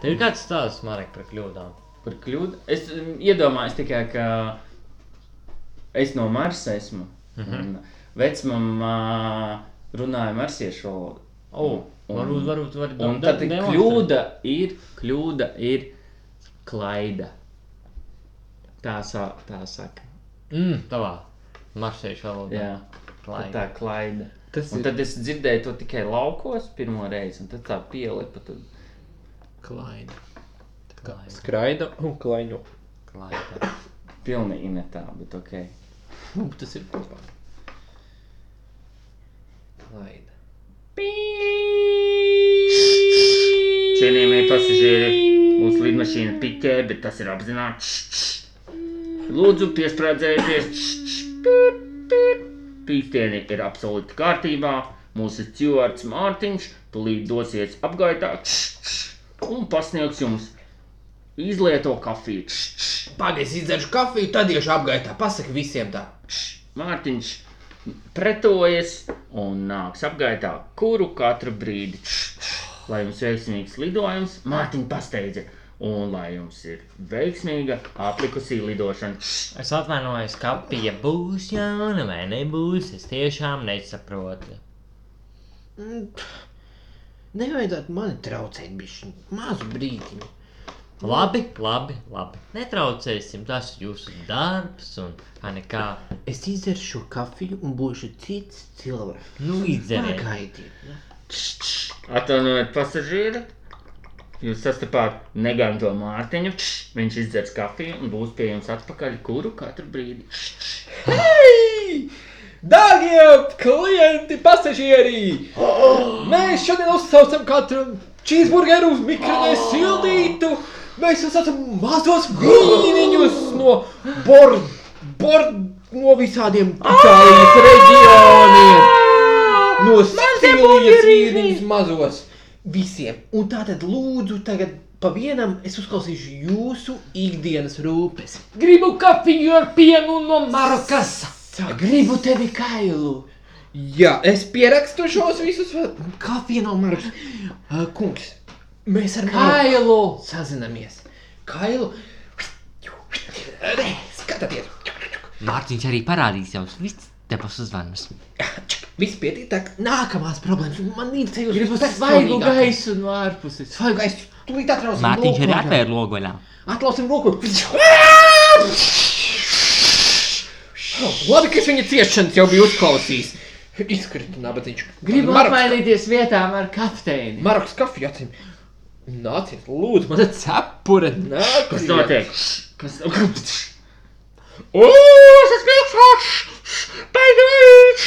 Speaker 3: Tev ir kāds stāsts, Marek, par kļūdām?
Speaker 2: Par kļūdu. Es mm, iedomājos tikai, ka es no Marsa esmu.
Speaker 3: Mhm.
Speaker 2: Mm -hmm. Vecmāmiņā runāja marsiešu valodu.
Speaker 3: O, varbūt, varbūt, varbūt.
Speaker 2: Un tad ir kļūda ir, kļūda ir klaida. Tā, sā, tā saka.
Speaker 3: Mm, tavā marsēšu valodā.
Speaker 2: Jā, klaida.
Speaker 3: Klaida.
Speaker 2: tā klaida.
Speaker 5: Tas
Speaker 2: Un tad es dzirdēju to tikai laukos pirmo reizi, un tad tā pielipa. Tad...
Speaker 5: Klaina.
Speaker 3: Klaida.
Speaker 5: Skraida un klaino.
Speaker 3: klaida.
Speaker 2: Pilnīgi ne tā, bet ok.
Speaker 5: Nu, tas ir kopā. Klaina.
Speaker 2: Cienījamie pasažieri, mūsu lidmašīna piķē, bet tas ir apzināti. Lūdzu, piesprādzējieties. Pīkstieni ir absolūti kārtībā. Mūsu cilvēks Mārtiņš tūlīt dosies apgaitā un pasniegs jums izlieto kafiju.
Speaker 5: Pagaidzi, izdzeršu kafiju, tad iešu apgaitā. Pasaki visiem tā.
Speaker 2: Mārtiņš pretojas un nāks apgaitā, kuru katru brīdi. Lai jums veiksmīgs lidojums, Mārtiņa pasteidza. Un lai jums ir veiksmīga aplikusī lidošana.
Speaker 3: Es atvainojos, ka pija būs jauna vai nebūs. Es tiešām nesaprotu.
Speaker 5: Mm, Nevajadzētu mani traucēt, bišķi. Mazu brīdiņu.
Speaker 3: Labi, labi, labi. Netraucēsim, tas ir jūsu darbs un kā nekā.
Speaker 5: Es izdzeršu kafiju un būšu cits cilvēks.
Speaker 3: Nu, izdzēriet.
Speaker 5: Pagaidiet.
Speaker 2: Atvainojiet, pasažieri! Jūs sastapāt neganto Mārtiņu. Viņš izdzers kafiju un būs pie jums atpakaļ, kuru katru brīdi.
Speaker 5: Dārgie klienti, pasažieri! Mēs šodien uzsaucam katru cheeseburgeru uz mikrofonē sildītu. Mēs uzsaucam mazos vīniņus no bord, bord, no visādiem Itālijas reģioniem. No Sicīlijas vīniņus mazos visiem. Un tātad lūdzu tagad pa vienam es uzklausīšu jūsu ikdienas rūpes.
Speaker 11: Gribu kafiju ar pienu no Marokas.
Speaker 5: Gribu tevi kailu. Jā, es pierakstu šos visus. Kafija no Marijas. Uh, kungs, mēs ar Kailu
Speaker 11: Ailo.
Speaker 5: sazinamies. Kailu. Re, Skatieties,
Speaker 12: Mārtiņš arī parādīs savus visus debes uzvanus.
Speaker 5: viss pietītāk. Nākamās problēmas. Man ir te jūs gribat
Speaker 11: Svaigu gaisu no ārpuses.
Speaker 5: Svaigu gaisu. Tūlīt atrausim.
Speaker 12: Mārtiņš arī
Speaker 5: loku.
Speaker 12: atvēra logoļā.
Speaker 5: Atlausim roku. Labi, ka viņa ciešanas jau bija uzklausījis. Izkrita nabadzīgs.
Speaker 2: Gribu apmainīties vietām ar kapteini.
Speaker 5: Marks kafiju atsim. Nāciet, lūdzu, man ir cepura. Nāciet.
Speaker 10: Kas notiek? Kas
Speaker 5: O, es esmu ilgšāks. Pēdējais.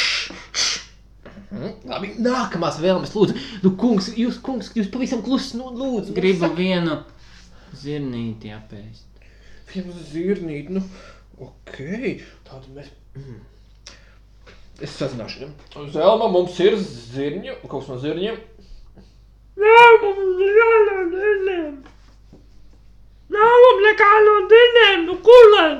Speaker 5: Hm? Labi, nākamās vēlmes, lūdzu. Nu, kungs, jūs, kungs, jūs pavisam klusi, nu, lūdzu.
Speaker 2: Gribu vienu zirnīti apēst.
Speaker 5: Viņam zirnīt, nu, ok. Tātad mēs... Mm. Es sazināšu viņam. Zelma, mums ir zirņu, kaut kas no zirņiem.
Speaker 13: Nē, mums ir jāļauj dēļiem. Nav mums nekā no dēļiem, nu kulēm.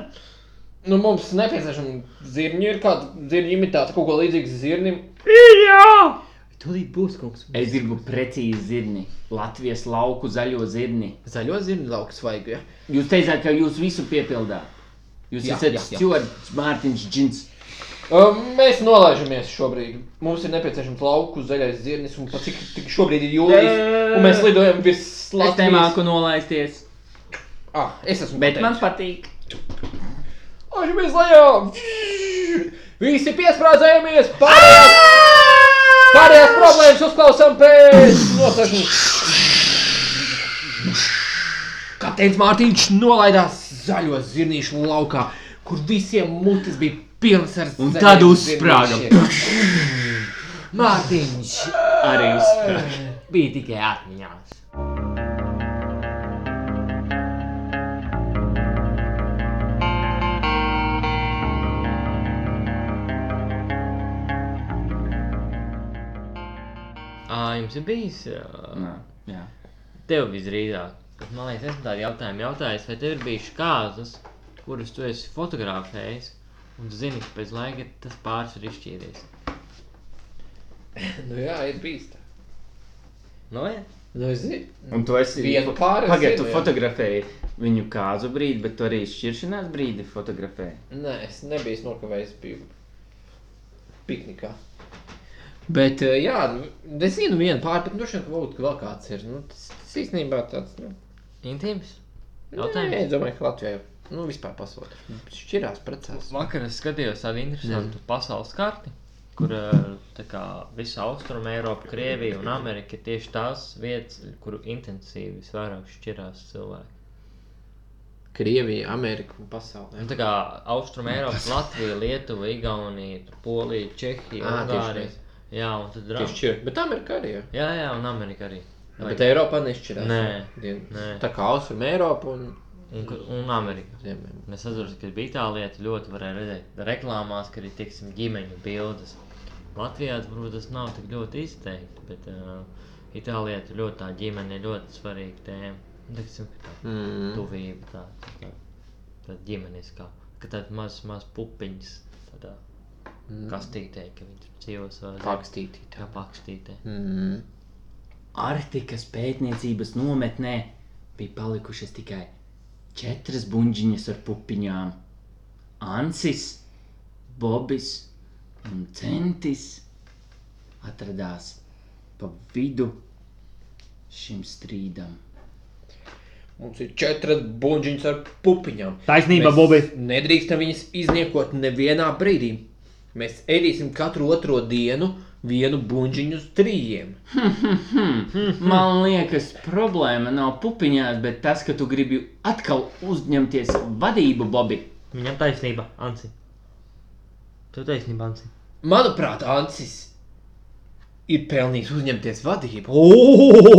Speaker 5: Nu, mums nepieciešama zirņu, ir kāda zirņu imitāte, kaut ko līdzīgu zirnim.
Speaker 13: Ir jā.
Speaker 5: Tūlīt būs kungs.
Speaker 2: Es gribu precīzi zirni, Latvijas lauku zaļo zirni.
Speaker 5: Zaļo zirņu lauks vajag, ja?
Speaker 2: Jūs teicāt, ka jūs visu piepildāt. Jūs
Speaker 5: Jā,
Speaker 2: esat
Speaker 5: jā, jā.
Speaker 2: Stjords Mārtiņš Džins.
Speaker 5: Um, mēs nolaižamies šobrīd. Mums ir nepieciešams lauku zaļais zirnis, un pat cik, cik šobrīd ir jūlijas, un mēs lidojam virs
Speaker 2: Es
Speaker 5: Latvijas.
Speaker 2: nemāku nolaisties,
Speaker 5: Ah, es esmu
Speaker 2: bet
Speaker 5: pateicis.
Speaker 2: man patīk.
Speaker 5: Ažamies lejā! Visi piesprādzējamies! Pārējās, pārējās problēmas uzklausām pēc nosašanas! Kapteinis Mārtiņš nolaidās zaļo zirnīšu laukā, kur visiem mutes bija pilnas ar Un
Speaker 2: tad uzsprāga.
Speaker 5: Mārtiņš
Speaker 2: Arī uzsprāga.
Speaker 5: bija tikai atmiņās.
Speaker 3: Ā, Jums ir bijis ā,
Speaker 10: jā.
Speaker 3: Tev visdrīzāk, bet man liekas, esmu tādu jautājumu jautājis, vai tev ir bijušas kārtas, kuras tu esi fotografējis, un tu zini, ka pēc laika tas pāris ir izšķīries.
Speaker 5: Nu jā, ir bīsta.
Speaker 3: Nu, jā.
Speaker 5: Nu, es zinu.
Speaker 2: Un tu esi
Speaker 5: Vienu pāri es
Speaker 2: Pagaidiet,
Speaker 5: zinu,
Speaker 2: tu
Speaker 5: jā.
Speaker 2: fotografēji viņu kāzu brīdi, bet tu arī šķiršanās brīdi fotografēji.
Speaker 5: Nē, es nebiju es nokavējis, biju piknikā. Bet, eh, jā, nu, es zinu, viena pāri, bet droši vien, ka varbūt ka vēl kāds ir. Nu, tas, tas īstenībā tāds, nu,
Speaker 3: intims.
Speaker 5: jautājums.
Speaker 3: Jautājums.
Speaker 5: Es domāju, ka Latvijā, nu, vispār pasaulē. Šķirās precēs.
Speaker 3: Vakar es skatījos tādu interesantu pasaules karti, kur ā, tā kā visa austruma Eiropa, Krievija un Amerika ir tieši tās vietas, kur intensīvi visvairāk šķirās cilvēki.
Speaker 5: Krievija, Amerika un pasaulē.
Speaker 3: Nu, tā kā Austrum Eiropa, Latvija, Lietuva, Igaunija, tur Polija, Čehija,
Speaker 5: Ā, tieši
Speaker 3: Ungārija. Jā, un tad
Speaker 5: Tieši
Speaker 3: drāmas.
Speaker 5: šķir. Bet Amerika arī. jā.
Speaker 3: Jā, jā, un Amerika arī.
Speaker 5: Bet Eiropā nešķirās.
Speaker 3: Nē,
Speaker 5: Dien-
Speaker 3: nē.
Speaker 5: Tā kā Austrum Eiropa un
Speaker 3: Un, kur- un Amerika.
Speaker 5: Ziemē.
Speaker 3: Es atceros, ka bija tā lieta, ļoti varēja redzēt reklāmās, ka ir tiksim, ģimeņu bildes. Latvijā tas varbūt tas nav tik ļoti izteikti, bet uh, Itālijā tur ļoti tā ģimene ir ļoti svarīga tēma. Un, Tiksim, ka tā
Speaker 5: Mm.
Speaker 3: tuvība, tā, tā, tā, tā ģimeniskā, ka tāds mazs maz pupiņas tādā Mm. kastītē, ka viņi tur dzīvo savā
Speaker 5: Pakstītī.
Speaker 3: kā pakstītē.
Speaker 5: Mm.
Speaker 2: Arktikas pētniecības nometnē bija palikušas tikai četras buļbuļsaktas ar pupiņām. Ansis, Bobs un Centis atradās pa vidu šim strīdam.
Speaker 5: Mums ir četras buļbuļsaktas ar pupiņām.
Speaker 10: Taisnība,
Speaker 5: Mēs
Speaker 10: Bobi.
Speaker 5: Nedrīkstam viņas izniekot nevienā brīdī. Mēs ēdīsim katru otro dienu vienu buļbuļsaktu uz trījiem.
Speaker 2: Man liekas, problēma nav pupiņās, bet tas, ka tu gribi atkal uzņemties vadību, Bobi.
Speaker 3: Viņam taisnība, Anci. Tu taisnība, Anci.
Speaker 5: Manuprāt, Ansis ir pelnījis uzņemties vadību.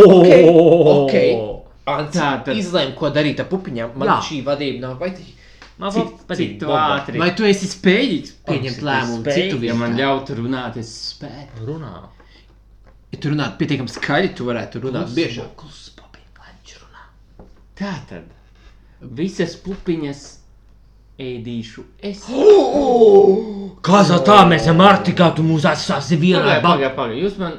Speaker 3: Okay,
Speaker 5: okay.
Speaker 2: Tā, tad-
Speaker 5: Ansis izlēma, ko darīt ar pupiņām. Man
Speaker 3: Jā.
Speaker 5: Jā. šī vadība nav vajadzīga.
Speaker 3: Man
Speaker 2: Cik, cik tu ātri?
Speaker 5: Vai tu esi spējīgs
Speaker 2: Ansi,
Speaker 5: pieņemt
Speaker 2: tu
Speaker 5: lēmumu
Speaker 2: spēj?
Speaker 5: citu
Speaker 2: Ja man
Speaker 5: vietu?
Speaker 2: ļautu runāt, es spētu.
Speaker 3: Runā.
Speaker 5: Ja tu runātu pietiekami skaļi, tu varētu runāt biežāk.
Speaker 2: Tā tad visas pupiņas ēdīšu es.
Speaker 3: Kāda tā mēs esam Arktikā, tu mūs atstāsi vienā
Speaker 2: Pagaidiet, pagaidiet, pagaidiet. Jūs man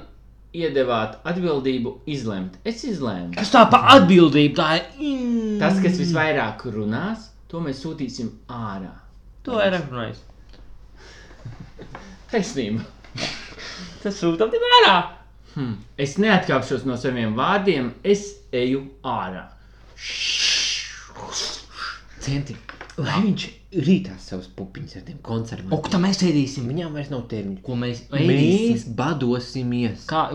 Speaker 2: iedevāt atbildību izlemt. Es izlēmu.
Speaker 3: Kas tā pa atbildību tā ir?
Speaker 2: Tas, kas visvairāk runās, to mēs sūtīsim ārā.
Speaker 3: To ir runājis.
Speaker 2: Taisnība.
Speaker 3: Tas sūta tev ārā.
Speaker 2: Hm. Es neatkāpšos no saviem vārdiem, es eju ārā.
Speaker 5: Centi, lai viņš rītā savus pupiņus ar tiem konserviem.
Speaker 14: Ok, tā mēs ēdīsim.
Speaker 5: Viņām vairs nav termiņa.
Speaker 3: Ko mēs
Speaker 5: Mēs
Speaker 3: ēdīsim?
Speaker 5: badosimies.
Speaker 3: Kā?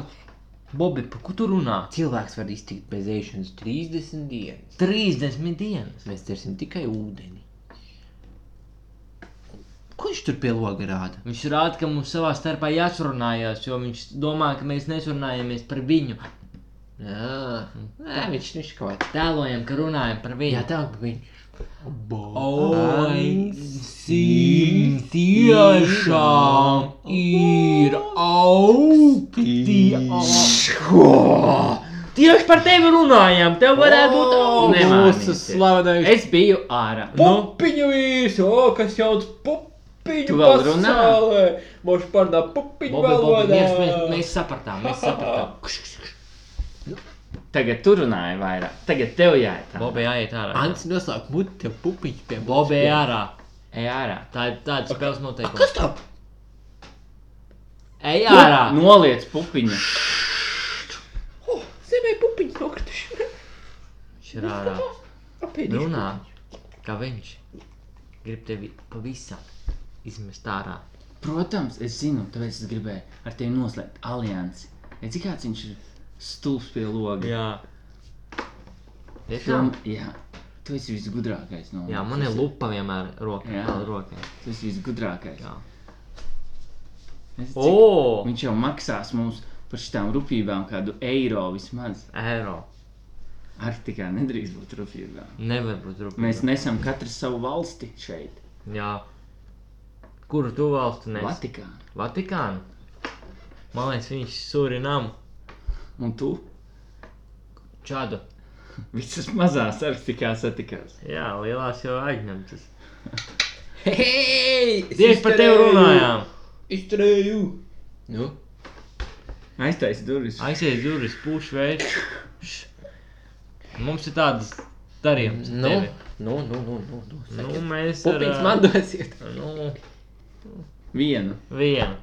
Speaker 3: Bobi, par ko tu runā?
Speaker 5: Cilvēks var iztikt bez ēšanas 30 dienas.
Speaker 3: 30 dienas.
Speaker 5: Mēs dzersim tikai ūdeni. Ko viņš tur pie loga rāda?
Speaker 3: Viņš rāda, ka mums savā starpā jāsarunājās, jo viņš domā, ka mēs nesurunājamies par viņu.
Speaker 5: Jā, nē, viņš viņš kaut kā.
Speaker 3: Tēlojam, ka runājam par
Speaker 5: Jā,
Speaker 3: viņu.
Speaker 5: tā kā viņš.
Speaker 3: Oi, sim, tiešām ir augsti. Tieši par tevi runājām, tev varētu būt
Speaker 2: Oh!
Speaker 5: mūsu
Speaker 3: augsts.
Speaker 5: slavenais
Speaker 3: Es biju ārā. Nu,
Speaker 5: pupiņu vīrs, o, kas jauc pupiņu
Speaker 3: Tu vēl runā?
Speaker 5: Moš pārdā pupiņu
Speaker 3: Bobi, Bobi,
Speaker 5: valodā.
Speaker 3: mēs, mēs, mēs sapratām, mēs sapratām.
Speaker 2: Tagad tur runāja vairāk. Tagad tev jāiet.
Speaker 3: Bobi, jāiet ārā.
Speaker 5: Ants noslēp muti, tev pupiņu pie
Speaker 3: Bobi,
Speaker 5: mutis.
Speaker 3: ārā.
Speaker 2: Ej ārā.
Speaker 3: Tā ir tāda spēles noteikuma.
Speaker 5: Kas Nu, tā?
Speaker 3: Ej ārā!
Speaker 2: Noliec pupiņu.
Speaker 15: Zemē pupiņas nokrituši.
Speaker 3: Viņš ir ārā.
Speaker 15: Apēdīšu.
Speaker 3: Runā, kā viņš grib tevi pavisam izmest ārā.
Speaker 2: Protams, es zinu, tāpēc es gribēju ar tevi noslēgt aliansi. Redzi, kāds viņš ir stulbs pie loga.
Speaker 3: Jā,
Speaker 2: Tu, jā. tu esi visgudrākais no mums.
Speaker 3: jā man ir lupa vienmēr rokā.
Speaker 2: Jā.
Speaker 3: rokā.
Speaker 2: Tu esi visgudrākais.
Speaker 3: Jā.
Speaker 2: Redzi, cik-
Speaker 3: O,
Speaker 2: Viņš jau maksās mums par šitām rupjībām kādu eiro vismaz.
Speaker 3: eiro.
Speaker 2: Arktikā nedrīkst būt rupjībām.
Speaker 3: Nevar būt rupjš.
Speaker 2: Mēs nesam katrs savu valsti šeit.
Speaker 3: Jā. Kuru tu valstu nes?
Speaker 2: Vatikāna.
Speaker 3: Vatikānu. Man liekas, viņš surinam
Speaker 2: Un tu
Speaker 3: čādu.
Speaker 2: visas mazās arktikā satikās.
Speaker 3: Jā, lielās jau aizņemtas.
Speaker 5: Hei! es
Speaker 3: Tieši par tevi
Speaker 5: izturēju!
Speaker 3: runājām.
Speaker 5: Izturēju! Nu?
Speaker 2: Aiztais durvis.
Speaker 3: Aiziet durvis, pūš vējš. Mums ir tādas darījums.
Speaker 5: Nu, nu, nu, nu, nu, nu.
Speaker 3: nu mēs. ar,
Speaker 5: Pupiņas
Speaker 3: ā,
Speaker 5: man dosiet.
Speaker 3: Nu,
Speaker 2: Vienu.
Speaker 3: viena.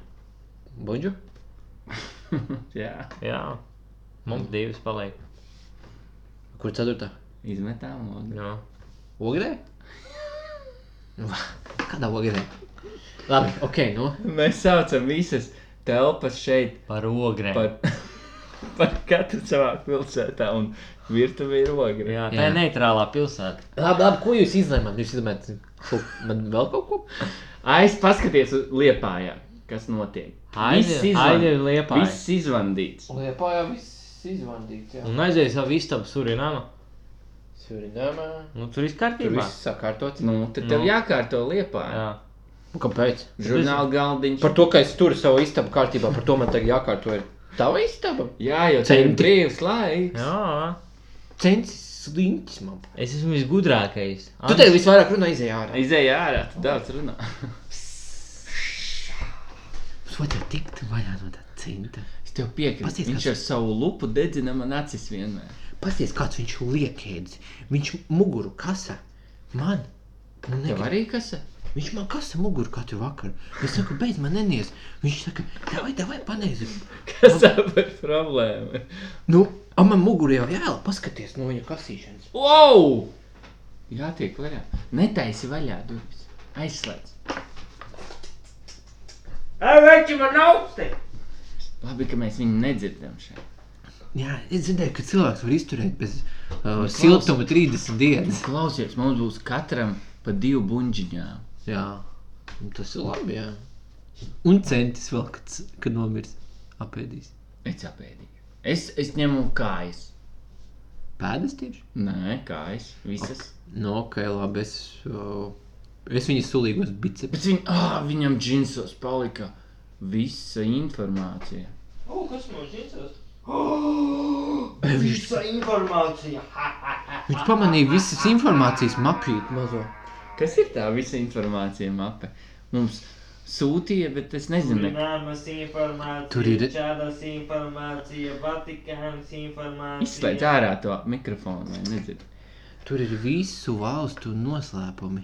Speaker 5: Buņģu?
Speaker 2: jā.
Speaker 3: Jā, mums divas paliek.
Speaker 5: Kur ceturtā?
Speaker 2: Izmetām logu.
Speaker 3: Jā.
Speaker 5: Ogrē? Nu, kādā ogrē? Labi, ok, nu.
Speaker 2: Mēs saucam visas telpas šeit
Speaker 3: Par ogrēm.
Speaker 2: par, par katru savā pilsētā un virtuvē ir ogre.
Speaker 3: Jā, tā
Speaker 5: Jā.
Speaker 3: ir neitrālā pilsēta.
Speaker 5: Labi, labi, ko jūs izlēmāt? Jūs izlēmāt kaut- man vēl kaut ko?
Speaker 2: Aiz paskaties uz liepājām, kas notiek. Viss
Speaker 3: Aizej,
Speaker 2: izvan-
Speaker 3: aizej liepā.
Speaker 2: Viss izvandīts.
Speaker 5: Liepā jau viss izvandīts, jā.
Speaker 3: Un aizej savu istabu surināma.
Speaker 5: Surinamā.
Speaker 3: Nu, tur viss
Speaker 5: Tur
Speaker 3: kārtībā.
Speaker 5: viss sakārtots.
Speaker 2: Nu, tad tev
Speaker 3: Nu.
Speaker 2: jākārto liepā.
Speaker 3: Jā.
Speaker 5: Kāpēc?
Speaker 2: Žurnāla galdiņš.
Speaker 5: Par to, ka es turu savu istabu kārtībā, par to man tagad jākārto ir. Tava istaba?
Speaker 2: Jā, jau tā ir
Speaker 5: Centri.
Speaker 2: brīvs laiks.
Speaker 3: Jā.
Speaker 5: Censis sliņķis man.
Speaker 3: Es esmu visgudrākais.
Speaker 5: Tu te visvairāk runā izējā ārā.
Speaker 2: Izej ārā, tu daudz runā.
Speaker 5: Mums vajadzēja tikt vaļā no tā cinta.
Speaker 2: Es tev piekrītu.
Speaker 5: Pasties,
Speaker 2: Viņš
Speaker 5: kas-
Speaker 2: ar savu lupu dedzina man acis vienmēr.
Speaker 5: Pasties, kāds viņš liekēdz. Viņš muguru kasa. Man.
Speaker 2: Tev
Speaker 5: Nu, negrib.
Speaker 2: arī kas?
Speaker 5: Viņš man kasa muguru katru vakaru. Es saku, beidz man nenies. Viņš saka, davai, davai, paneizi.
Speaker 2: Kas tā par problēmu?
Speaker 5: Nu, a man muguru jau jāla, paskaties no viņa kasīšanas.
Speaker 2: Wow! Jā, tiek vaļā. Netaisi vaļā durvis. Aizslēdz.
Speaker 15: Ai, veči, man augsti!
Speaker 2: Labi, ka mēs viņu nedzirdam šeit.
Speaker 5: Jā, es dzirdēju, ka cilvēks var izturēt bez uh, siltuma 30 dienas.
Speaker 2: Klausies, mums būs katram pa divu buļģiņām.
Speaker 5: Jā, un tas ir labi, jā. Un centis vēl, kad, kad nomirs apēdīs.
Speaker 2: Es apēdīju. Es, es ņemu kājas.
Speaker 5: Pēdas tieši?
Speaker 2: Nē, kājas. Visas.
Speaker 5: Nu, ok, labi. Es, uh, es viņu sulīgos bicepus.
Speaker 2: Bet viņ, ah, viņam džinsos palika visa informācija.
Speaker 15: O, kas man žīcās? Visa informācija!
Speaker 5: Viņš pamanīja visas informācijas mapīt mazo.
Speaker 2: Kas ir tā visa informācija mape? Mums sūtīja, bet es nezinu. ne-
Speaker 15: Zināmas informācija,
Speaker 5: Tur ir-
Speaker 15: čādas informācija, Vatikāns informācija.
Speaker 2: Izslēdz ārā to mikrofonu, lai nedzird.
Speaker 5: Tur ir visu valstu noslēpumi.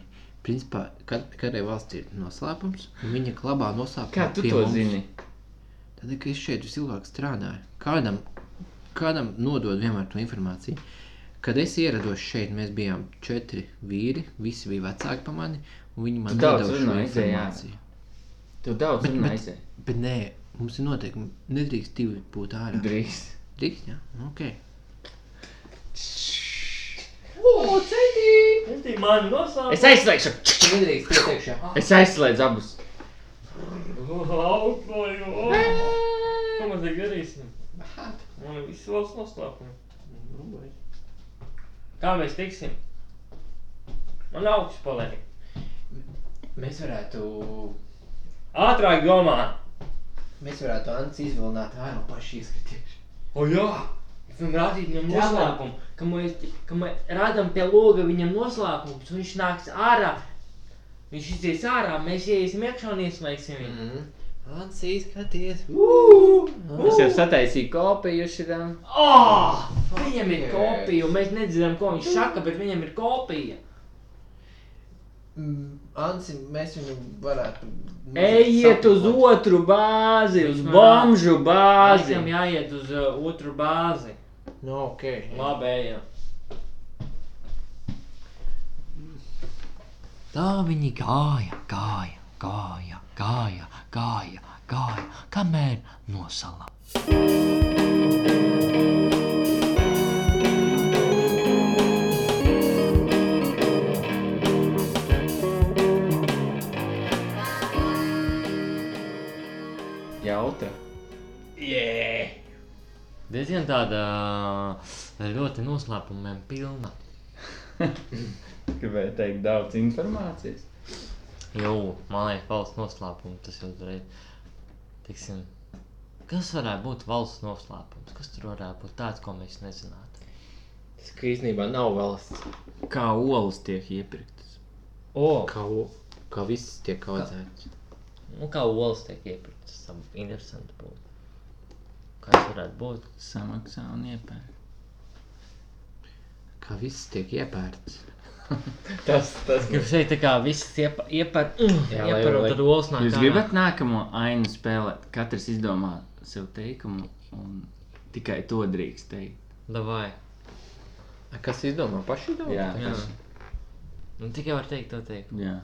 Speaker 5: Principā, kad, katrai valsts ir noslēpums, un viņa klabā noslēpums.
Speaker 2: Kā tu
Speaker 5: pie
Speaker 2: to
Speaker 5: mums.
Speaker 2: zini?
Speaker 5: Tad, kad es šeit uz cilvēku strādāju, kādam, kādam nodod vienmēr to informāciju, Kad es ierados šeit, mēs bijām četri vīri, visi bija vecāki par mani, un viņi man
Speaker 16: Tu
Speaker 5: deva
Speaker 16: daudz
Speaker 5: šo
Speaker 16: runāji, te, jā.
Speaker 5: informāciju.
Speaker 16: Tu daudz
Speaker 5: Bet- bet-
Speaker 16: runāsi.
Speaker 5: Bet nē, mums ir noteikumi. Nedrīkst divi būt ārā.
Speaker 16: Drīz.
Speaker 5: Drīkst, jā, ok.
Speaker 3: Citi mani noslēdz.
Speaker 16: Es aizslēgšu!
Speaker 5: Nedrīkst ieteikšā.
Speaker 16: Es aizslēdzu abus.
Speaker 3: Auto, Nu, Ko mēs te darīsim? Man ir visi valsts noslēpumi. Nu, Kā mēs tiksim? Man augsts paliek.
Speaker 5: Ah, Mēs varētu,
Speaker 3: Ātrāk domā!
Speaker 5: mēs varētu Ants izvilināt ārā paši ieskatieši.
Speaker 3: O jā! Viņam rādīt viņam
Speaker 5: Jā, labi.
Speaker 3: noslēpumu. Ka mēs, ka mēs rādām pie loga viņam noslēpumus, viņš nāks ārā. Viņš izies ārā, mēs ieiesim iekšā un ieslēgsim viņu.
Speaker 5: Mhm. Ants izskaties.
Speaker 16: Es jau sataisīju kopiju šitam.
Speaker 3: Oh, viņam ir
Speaker 5: Fuck
Speaker 3: kopija, un mēs nedzirdam, ko viņš saka, bet viņam ir kopija.
Speaker 5: Mm, Ansi, mēs viņu varētu...
Speaker 16: Ejiet uz otru bāzi, uz
Speaker 3: Viņš man
Speaker 16: bomžu bāzi.
Speaker 3: Viņam jāiet uz uh, otru bāzi.
Speaker 5: Nu, ok.
Speaker 3: Labi, ejam.
Speaker 17: Tā viņi gāja, gāja, gāja, gāja, gāja, gāja, kamēr nosala.
Speaker 16: Jautra.
Speaker 3: Diezgan tāda uh, ļoti noslēpumiem pilna.
Speaker 16: Gribēju teikt daudz informācijas.
Speaker 3: Jau, man liekas, valsts noslēpums. Tas jau reiz. Tiksim, kas varētu būt valsts noslēpums? Kas tur varētu būt tāds, ko mēs nezinātu?
Speaker 16: Tas, ka īstenībā nav valsts.
Speaker 2: Kā olas tiek iepirktas?
Speaker 3: O,
Speaker 5: Kā, o- kā viss tiek audzēts.
Speaker 3: nu kā olas tiek iepirktas, tam interesanti būtu. Kas varētu būt?
Speaker 2: Samaksā un iepērk.
Speaker 5: Kā viss tiek iepērts.
Speaker 16: Tas, tas.
Speaker 3: Gribu šeit tā kā viss iepa, iepar, jā,
Speaker 16: lai-
Speaker 3: iepar, un
Speaker 16: lai-
Speaker 3: tad olas nāk.
Speaker 2: Jūs
Speaker 3: ārā.
Speaker 2: gribat nākamo ainu spēlēt? Katrs izdomā sev teikumu un tikai to drīkst teikt.
Speaker 3: Davai.
Speaker 5: Kas izdomā paši domā?
Speaker 2: Jā,
Speaker 3: Jā. Nu, tikai var teikt to teikt.
Speaker 2: jā.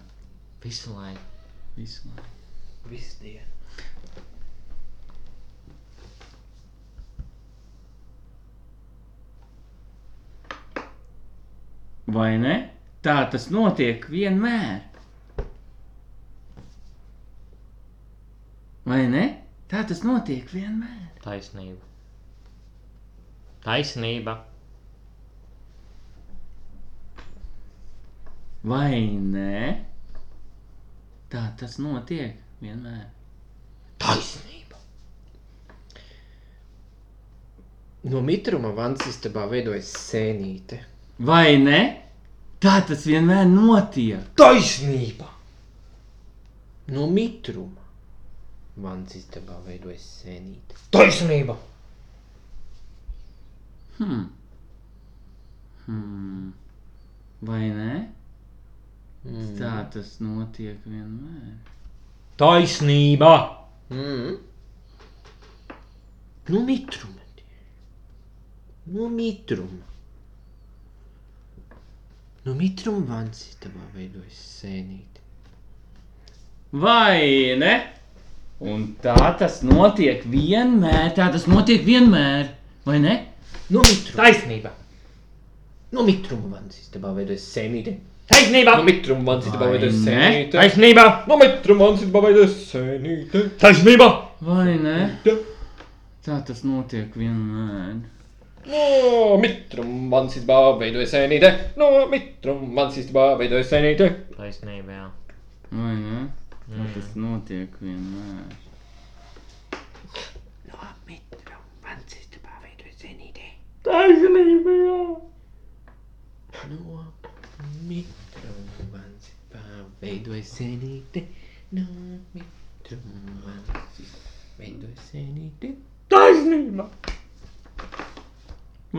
Speaker 3: Visu laiku.
Speaker 2: Visu laiku.
Speaker 5: Viss diena.
Speaker 2: Vai ne? Tā tas notiek vienmēr. Vai ne? Tā tas notiek vienmēr.
Speaker 3: Taisnība. Taisnība.
Speaker 2: Vai ne? Tā tas notiek vienmēr.
Speaker 3: Taisnība.
Speaker 5: No mitruma vans istabā veidojas sēnīte.
Speaker 2: Vai ne? Tā tas vienmēr notiek.
Speaker 5: Taisnība! No mitruma vans istabā veidojas sēnīte.
Speaker 8: Taisnība!
Speaker 2: Hmm. Hmm. Vai ne? Mm. Tā tas notiek vienmēr.
Speaker 3: Taisnība.
Speaker 5: Mm. No mitruma. tie. No mitruma. No mitruma vans istabā veidojas sēnīte.
Speaker 2: Vai ne? Un tā tas notiek vienmēr. Tā tas notiek vienmēr. Vai ne?
Speaker 5: No mitruma.
Speaker 8: Taisnība!
Speaker 5: No mitruma vans istabā veidojas sēnīte.
Speaker 8: Taisnība!
Speaker 3: Nu,
Speaker 5: No mitruma vans istabā
Speaker 2: Vai
Speaker 5: veidojas
Speaker 2: ne?
Speaker 5: sēnīte.
Speaker 8: Taisnība!
Speaker 5: No mitruma vans istabā veidojas sēnīte.
Speaker 8: Taisnība!
Speaker 2: Vai ne? Tā tas notiek vienmēr.
Speaker 5: No mitruma mans izbāva veidoja sēnīte. No mitruma mans izbāva veidoja sēnīte.
Speaker 3: Taisnība, jā.
Speaker 2: Vai ne? Tā mm. tas notiek vienmēr.
Speaker 5: No mitruma mans izbāva veidoja sēnīte. No mitruma mans izbāva veidoja sēnīte.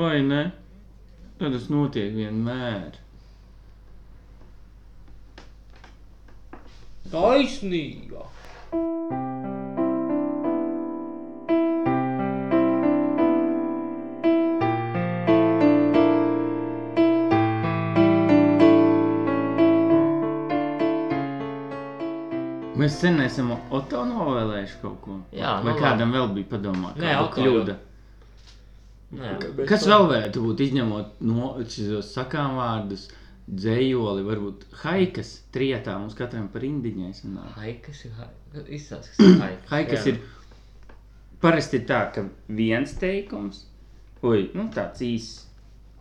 Speaker 2: Vai ne? Tā tas notiek vienmēr.
Speaker 3: Taisnība.
Speaker 2: Mēs sen esam Oto novēlējuši kaut ko.
Speaker 3: Jā,
Speaker 2: Vai
Speaker 3: nu
Speaker 2: kādam vēl bija padomā?
Speaker 3: Nē,
Speaker 2: kāda
Speaker 3: Oto
Speaker 2: kļūda.
Speaker 3: Nē,
Speaker 2: Kas vēl varētu būt izņemot no šos sakām vārdus, dzējoli, varbūt haikas trijotā mums katram par indiņai sanāk.
Speaker 3: haikas ir haikas. Izsāks, kas ir haikas.
Speaker 2: Haikas
Speaker 3: jā.
Speaker 2: ir parasti ir tā, ka viens teikums, oi, nu tāds īss,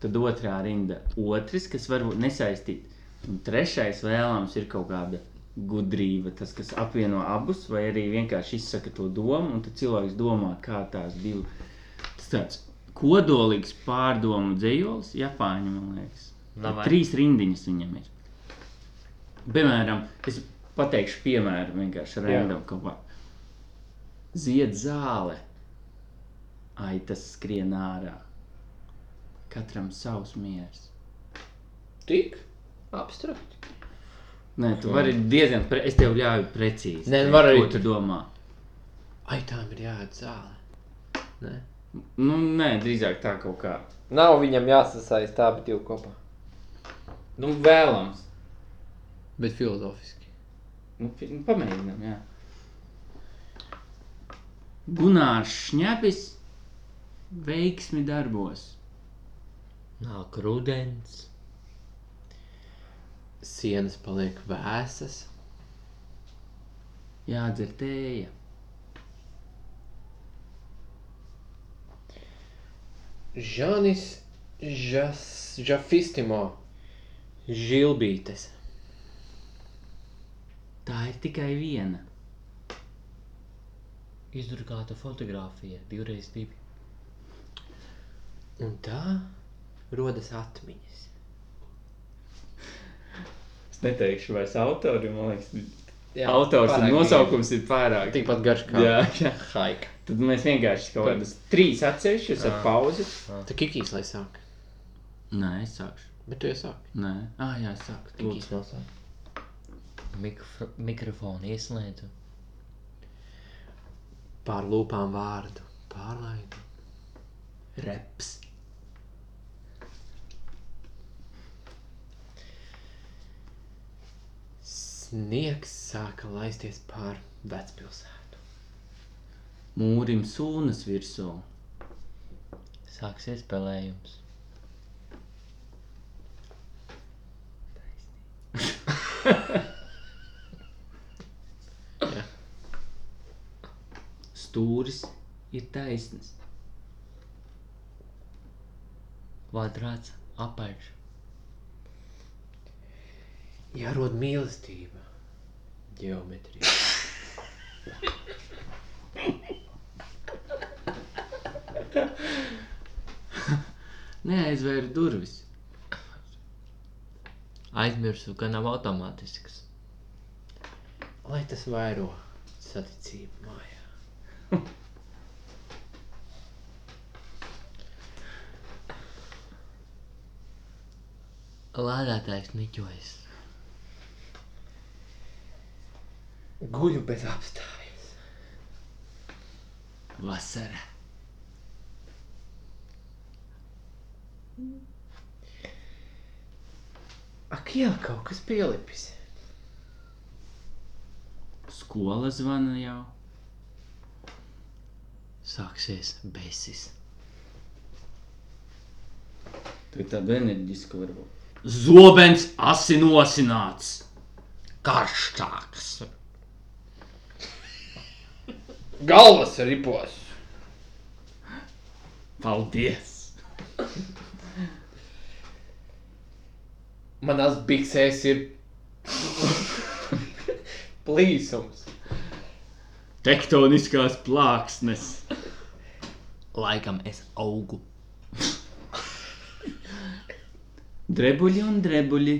Speaker 2: tad otrā rinda otrs, kas varbūt nesaistīt, un trešais vēlams ir kaut kāda gudrība, tas, kas apvieno abus, vai arī vienkārši izsaka to domu, un tad cilvēks domā, kā tās divas. Tas tāds kodolīgs pārdomu dzējolis, Japāņu, man liekas.
Speaker 3: Davai.
Speaker 2: Trīs rindiņas viņam ir. Piemēram, es pateikšu piemēru vienkārši random kaut kā. Zied zāle. Ai, tas skrien ārā. Katram savs miers.
Speaker 18: Tik abstrakt.
Speaker 2: Nē, tu vari diezgan, pre... es tev ļauju precīzi.
Speaker 5: Nē,
Speaker 2: teikt,
Speaker 5: var arī
Speaker 2: Ko tu domā?
Speaker 5: Ai, tām ir jāiet zāle.
Speaker 2: Nu, nē, drīzāk tā kaut kā.
Speaker 5: Nav viņam jāsasaist tā, bet divi kopā.
Speaker 2: Nu, vēlams.
Speaker 5: Bet filozofiski.
Speaker 2: Nu, pi- nu, pamēģinām, jā. Gunārs Šņepis veiksmi darbos.
Speaker 3: Nāk rudens.
Speaker 5: Sienas paliek vēsas.
Speaker 2: Jādzer tēja.
Speaker 5: Žanis Žas- Žafistimo. Žilbītes.
Speaker 2: Tā ir tikai viena.
Speaker 3: Izdrukāta fotografija. Divreiz divi.
Speaker 5: Un tā rodas atmiņas.
Speaker 2: Es neteikšu vairs autori, man liekas.
Speaker 5: Jā,
Speaker 2: Autors un
Speaker 5: pārāk
Speaker 2: nosaukums ir pārāk.
Speaker 5: Tikpat garš kā
Speaker 2: Jā, jā.
Speaker 5: haika.
Speaker 2: Tad mēs vienkārši kaut kādas trīs atsevišķas ar pauzi.
Speaker 5: Tā Ah. kikīs, lai sāk.
Speaker 2: Nē, es sākšu.
Speaker 5: Bet tu jau sāk.
Speaker 2: Nē, ah, jā, es sāku.
Speaker 5: Kikīs nav sāk.
Speaker 3: Mikro, mikrofonu ieslēdzu.
Speaker 5: Pār lūpām vārdu. Pārlaidu.
Speaker 2: Reps.
Speaker 5: Sniegs sāka laisties pār vecpilsētu.
Speaker 2: Mūrim sūnas virsū.
Speaker 3: Sāksies spēlējums.
Speaker 2: Stūris ir taisns.
Speaker 3: Kvadrāts apaļš.
Speaker 5: Jārod mīlestība. Geometrija.
Speaker 2: Neaizvēr durvis.
Speaker 3: Aizmirsu, ka nav automātisks.
Speaker 5: Lai tas vairo saticību mājā.
Speaker 3: Lādētājs niķojas.
Speaker 5: Guļu bez apstājas.
Speaker 2: Vasara.
Speaker 5: Ak jā, kaut kas pielipis.
Speaker 2: Skola zvana jau.
Speaker 3: Sāksies besis.
Speaker 2: Tu ir tāda enerģiska varbūt. Zobens asinosināts.
Speaker 3: Karštāks.
Speaker 18: Galvas ripos.
Speaker 2: Paldies!
Speaker 5: Manās biksēs ir plīsums.
Speaker 2: Tektoniskās plāksnes.
Speaker 3: Laikam es augu.
Speaker 2: Drebuļi un drebuļi.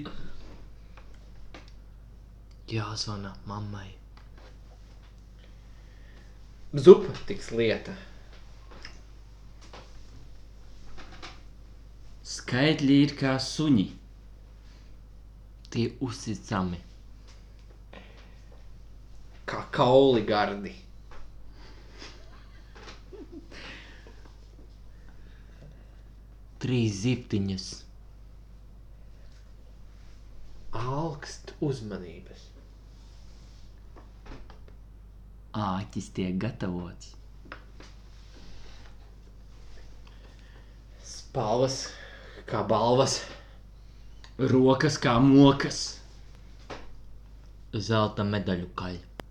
Speaker 3: Jāzvana mammai.
Speaker 5: Zupa tiks lieta.
Speaker 2: Skaitļi ir kā suņi.
Speaker 3: Tie uzticami.
Speaker 5: Kā kauli gardi.
Speaker 3: Trīs ziptiņas.
Speaker 5: Alkst uzmanības.
Speaker 19: āķis tiek gatavots.
Speaker 5: Spalvas kā balvas, rokas kā mokas.
Speaker 3: Zelta medaļu kaļa.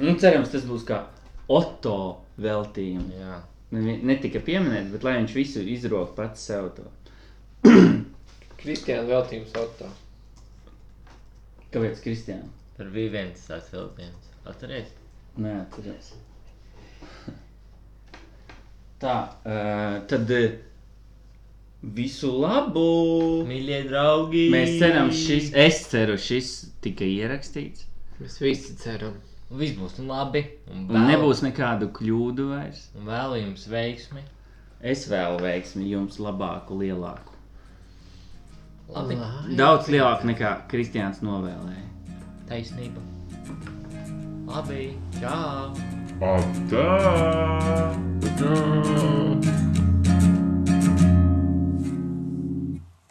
Speaker 2: Nu, cerams, tas būs kā Otto veltījums.
Speaker 3: Jā.
Speaker 2: Ne, netika pieminēts, bet lai viņš visu izrok pats sev to.
Speaker 5: Kristiāna veltījums auto.
Speaker 2: Kāpēc Kristiāna?
Speaker 3: Tur bija viens tāds vilciens. Atcerieties,
Speaker 2: Nē, atceries. Tā, uh, tad eh, visu labu!
Speaker 3: mīļie draugi!
Speaker 2: Mēs ceram, šis, es ceru, šis tika ierakstīts.
Speaker 5: Mēs visi ceram.
Speaker 3: Viss būs labi.
Speaker 2: Un
Speaker 3: Un, vēl,
Speaker 2: nebūs nekādu kļūdu vairs.
Speaker 3: un vēlu jums veiksmi.
Speaker 2: Es vēlu veiksmi jums labāku, lielāku.
Speaker 3: Labi,
Speaker 2: Daudz lielāku nekā Kristiāns novēlēja.
Speaker 3: taisnība. Labi, čau!
Speaker 1: Atā! Atā!